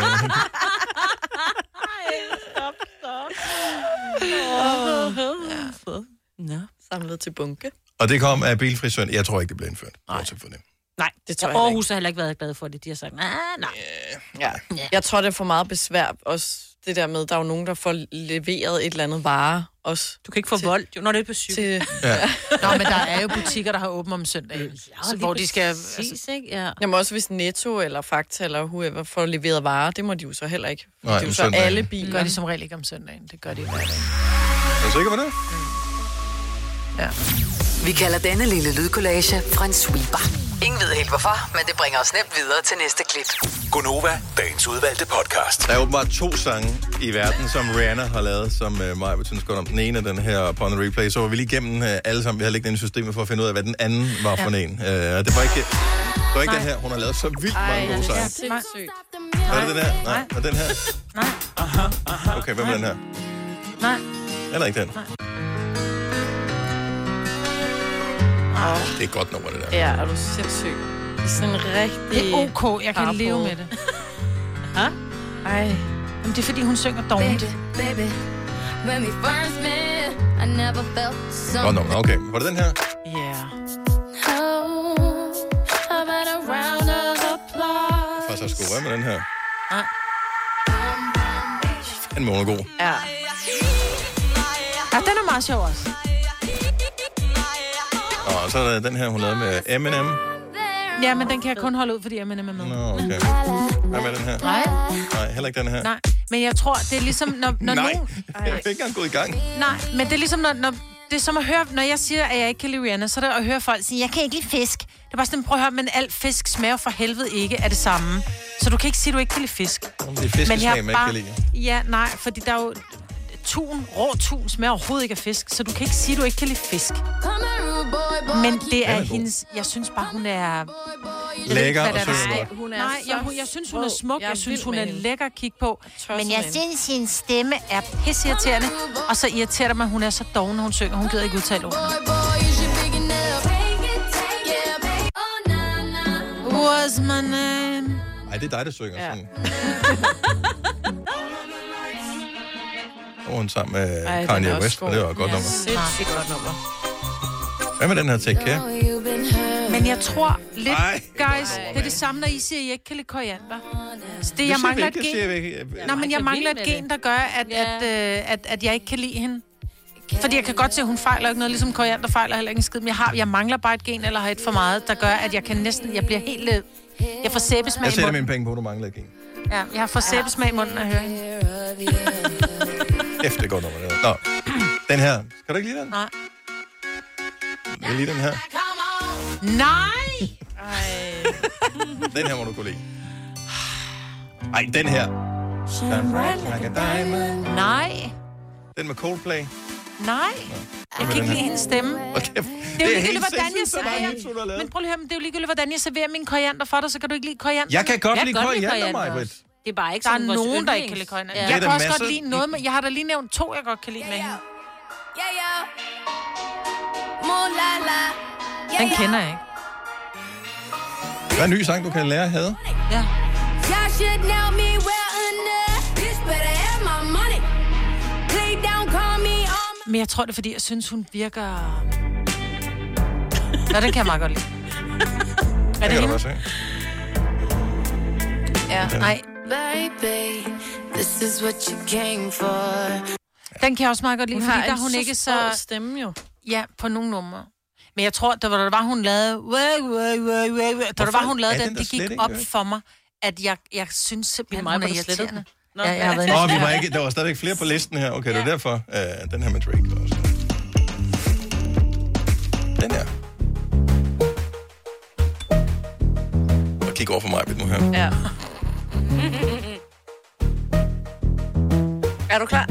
Nå. Samlet til bunke.
og det kom af bilfri søn. Jeg tror ikke, det blev indført. Nej. For det.
Nej,
det tror jeg heller
Aarhus har heller ikke været glad for det. De har sagt, nej, nej.
Ja. Jeg tror, det er for meget besvær. Også det der med, der er jo nogen, der får leveret et eller andet vare. Også du
kan ikke få til, vold, jo, når det er på syv.
Til,
Ja.
Nå, men der er jo butikker, der har åbent om søndagen. Ja, så,
lige
hvor de skal... altså,
Præcis, ikke? altså- Ja.
Jamen også hvis Netto eller Fakta eller whoever får leveret varer, det må de jo så heller ikke.
Nej,
det er
om
jo så
søndagen.
alle
Det
biler.
gør de som regel ikke om søndagen. Det gør de i hverdagen.
Er du sikker på det?
Ja.
Vi kalder denne lille lydkollage Frans sweeper. Ingen ved helt hvorfor, men det bringer os nemt videre til næste klip.
Gonova, dagens udvalgte podcast.
Der er åbenbart to sange i verden, som Rihanna har lavet, som øh, mig vil synes godt om. Den ene er den her på en replay, så var vi lige igennem øh, alle sammen. Vi havde ligget inde i systemet for at finde ud af, hvad den anden var for
Ja.
en. Øh, og det var ikke, det var ikke den her. Hun har lavet så vildt mange gode sange.
sindssygt.
Var det den her? Nej. Og den her?
Nej.
Okay, hvem er den her?
Nej.
Heller ikke den.
Au.
Ah, Det er et godt nummer, det der.
Ja, er du sindssyg. Det er sådan en rigtig...
Det er ok, jeg kan
harpo.
leve med det.
Hæ?
Ej.
Jamen, det er fordi, hun synger dårligt.
Baby, when we first met, I never felt so.
Godt nummer, okay. Var det den her?
Oh, how about a round of applause?
Faktisk også god. Hvad med den her?
Nej.
Fandme, hun er god.
Ja.
Ja, den er meget sjov også.
Og så er der den her, hun lavede med Eminem.
Ja, men den kan jeg kun holde ud, fordi jeg er med.
Nå, okay. Hvad med den her?
Nej.
Nej, heller ikke den her.
Nej, men jeg tror, det er ligesom, når, når
Nej,
nogen...
jeg er ikke engang gået i gang.
Nej, men det er ligesom, når, når, det er som at høre, når jeg siger, at jeg ikke kan lide Rihanna, så er det at høre folk sige, jeg kan ikke lide fisk. Det er bare sådan, prøv at høre, men al fisk smager for helvede ikke af det samme. Så du kan ikke sige, at du ikke kan lide fisk.
Jamen, det er fiskesmag,
jeg har
man ikke kan
Ja, nej, fordi der er jo tun, rå tun smager overhovedet ikke af fisk, så du kan ikke sige, at du ikke kan lide fisk. Men det er
Den er god.
hendes... Jeg synes bare, hun er...
Lækker
Jeg ved ikke,
og
hvad det
synger
er.
godt.
Hun er
Nej,
så
jeg, hun- jeg synes, hun er
smuk.
smuk.
Jeg er
Jeg synes,
vild
hun
med
er
hende.
lækker at kigge på. Men jeg
med
synes, hendes stemme er pisseirriterende. Og så irriterer det mig, at hun er så doven, når hun synger. Hun gider ikke udtale ordene. Was my name?
Nej, det er dig, der synger ja. sådan. Og hun sammen med
Ej, den
Ej,
er
Kanye
også
West,
god.
og det var et godt
Ja.
nummer.
Sindssygt godt nummer.
Hvad med den her Take Care?
Mm.
Men jeg tror lidt,
Ej.
guys, det er det samme, når I siger, at I ikke kan lide koriander. Så det, jeg
siger vi
mangler et
ikke, jeg siger vi
gen.
ikke.
Nå, men jeg
Jeg
mangler
er
et
vild med
gen, der gør, at, at, øh, at, at jeg ikke kan lide hende. Fordi jeg kan godt se, at hun fejler ikke noget, ligesom koriander fejler heller ikke en skid. Men jeg, har, jeg mangler bare et gen, eller har et for meget, der gør, at jeg kan næsten, jeg bliver helt... øh, Jeg får sæbesmag i
Jeg sætter
munden.
mine penge på, at du mangler ikke en.
Ja, jeg får sæbesmag i munden af høring.
Kæft, det er et godt nummer. Det der. Nå, den her. Kan du ikke lide den?
Nej.
Kan du lide den her?
Nej!
Den her må du kunne lide. Ej, den her.
Shine bright like a diamond.
Nej.
Den med Coldplay.
Nej. Jeg kan ikke lide hendes stemme.
Okay.
Det er jo ligegyldigt, hvordan jeg serverer. Men
Men...
prøv lige at høre, men det er jo ligegyldigt, hvordan jeg serverer min koriander for dig, så kan du ikke lide koriander.
Jeg kan godt Jeg lide kan godt lide koriander, koriander Maj-Britt. også.
Det er bare ikke
Der er
sådan vores
nogen, der ikke
yndlings.
kan lide koriander.
Ja.
Ja.
Det er
Jeg kan
der
også godt
masser-
lide noget med... Jeg har da lige nævnt to, jeg godt kan lide med hende.
Yeah, yeah. Moo la la. Yeah,
Den
yeah.
kender jeg ikke.
Hvad er en ny sang, du kan lære at have?
Y'all should know me well enough. Bitch better have my money. Play down, call me on
Men jeg tror, det er, fordi jeg synes, hun virker... Nå, den kan jeg meget godt lide. Er
kan
det
du
hende?
godt se.
Ja, nej.
Baby, this is what you came for.
Den kan jeg også meget godt lide,
Hun
fordi
har
der
en
er hun
så
ikke
sprød
så... stemme jo. Ja, på nogle numre. Men jeg tror, da der var, hun lavede... Way, way, way, way, way. Da der
Hvorfor
var, hun lavede
er
den,
den
det
der
gik
slet ikke,
op
ikke?
for mig, at jeg, jeg synes simpelthen,
mig,
hun er
hvor du slettede
irriterende.
den. Nå,
ja, jeg har været
Nå, vi var ikke, der var stadigvæk flere på listen her. Okay, det er derfor. Uh, den her med Drake også. Den her. Og kig over for mig, Britt, nu her.
Ja. er du klar?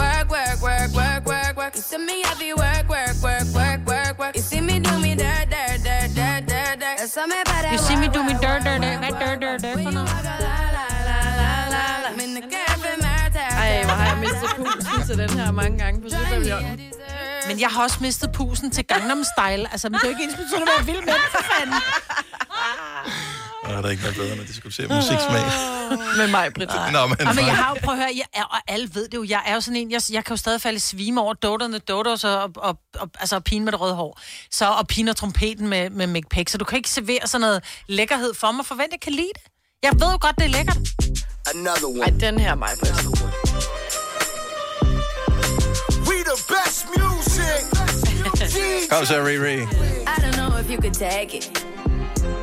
Work, work, work, work, work, work. You see me heavy work, work, work, work, work, work. You see me do me dirt, dirt, dirt, dirt, dirt, dirt. There's something about that
You see me
work,
do me
work,
dirt,
work,
dirt, dirt. Hvad
work,
dirt, dirt, dirt for noget?
I'm in the cafe, my time.
Ej, hvor har jeg mistet pulsen til den her mange gange på Søndermjørn.
Men jeg har også mistet pusen til Gangnam Style. Altså, men det er jo ikke ens betydende, at være vild med den, for fanden.
Og der er ikke noget bedre, når de diskuterer musiksmag.
Med mig, Britt.
Nå, men...
Ah. Men, men jeg har jo, prøv at høre, jeg er, og alle ved det jo, jeg er jo sådan en, jeg, jeg kan jo stadig falde i svime over doterne, dodos og, og, og, og, altså, og pigen med det røde hår. Så, og pigen og trompeten med, med Mick Peck. Så du kan ikke servere sådan noget lækkerhed for mig, forvent, jeg kan lide det. Jeg ved jo godt, det er lækkert.
Another one.
Ej, den her mig, Britt.
We the best music.
Kom så, Riri.
I don't know if you could take it.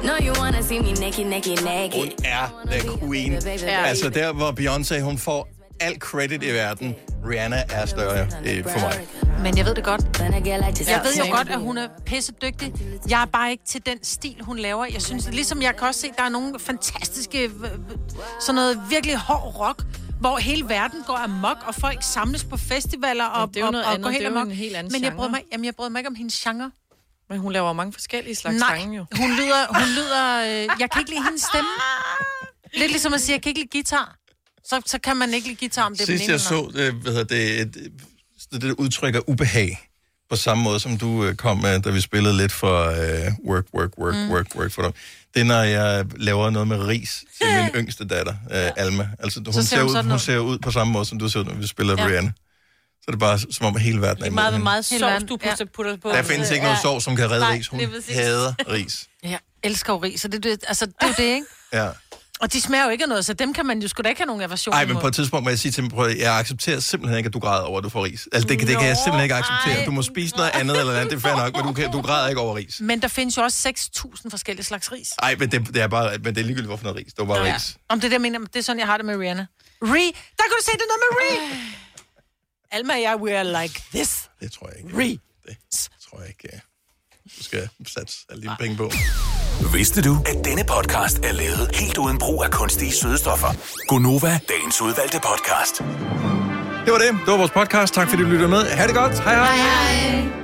No, you wanna see me naked, naked, naked.
er the queen.
Ja.
Altså der, hvor Beyoncé, hun får al credit i verden. Rihanna er større øh, for mig.
Men jeg ved det godt. Jeg ved jo godt, at hun er pissedygtig. Jeg er bare ikke til den stil, hun laver. Jeg synes, ligesom jeg kan også se, der er nogle fantastiske, øh, øh, sådan noget virkelig hård rock, hvor hele verden går amok, og folk samles på festivaler og,
Men det er jo noget
og, og
andet.
går helt
Det er jo
amok.
en helt anden
Men jeg
genre.
bryder, mig, jamen, jeg bryder mig ikke om hendes genre.
Men hun laver mange forskellige slags
Nej,
sange jo.
hun lyder, hun lyder øh, jeg kan ikke lide hendes stemme. Lidt ligesom at sige, jeg kan ikke lide guitar. Så, så kan man ikke lide guitar, om det er den
Sidst
ene
jeg
eller den anden.
så, øh, hvad hedder det, det, det, det udtrykker ubehag, på samme måde som du øh, kom med, da vi spillede lidt for øh, work, work, work,
Mm.
mm. work, work for dig. Det er, når jeg laver noget med ris til min yngste datter, øh, Alma. Altså, hun,
ser
ser,
hun
ud,
sådan
hun
ud.
ser ud på samme måde, som du ser ud, når vi spiller
Ja.
ja. Rihanna. Så er det bare som om hele verden er
Det er
imod
meget,
hende.
meget
Hele
sovs,
verden.
du putter, putter på.
Der findes ikke noget
Ja.
sovs, som kan redde
Nej,
ris. Hun
lige præcis.
hader ris.
Jeg elsker jo ris, så det, det, altså, det er jo det, ikke?
Ja.
Og de smager jo ikke af noget, så dem kan man jo sgu da ikke have nogen aversion
Ej, men på
imod.
et tidspunkt må jeg sige til dem, prøv, at- jeg accepterer simpelthen ikke, at du græder over, at du får ris. Altså, det, det kan jeg
Nå,
simpelthen ikke acceptere.
ej.
Du må spise noget andet eller andet, det er fair nok, men du, kan, du græder ikke over ris.
Men der findes jo også 6.000 forskellige slags ris.
Nej, men det, det, er bare, men det er ligegyldigt, hvorfor noget ris. Det var bare ris.
Om det der mener, det er sådan, jeg har det med Rihanna. Ri, der kan du se, det er noget med Ri. Alma og jeg, we are like this.
Det tror jeg ikke.
Ri.
tror jeg ikke. Du skal satse alle dine penge på.
Vidste du, at denne podcast er lavet helt uden brug af kunstige sødestoffer? Gonova, dagens udvalgte podcast.
Det var det. Det var vores podcast. Tak fordi du lyttede med. Ha' det godt. Hej hej.
hej.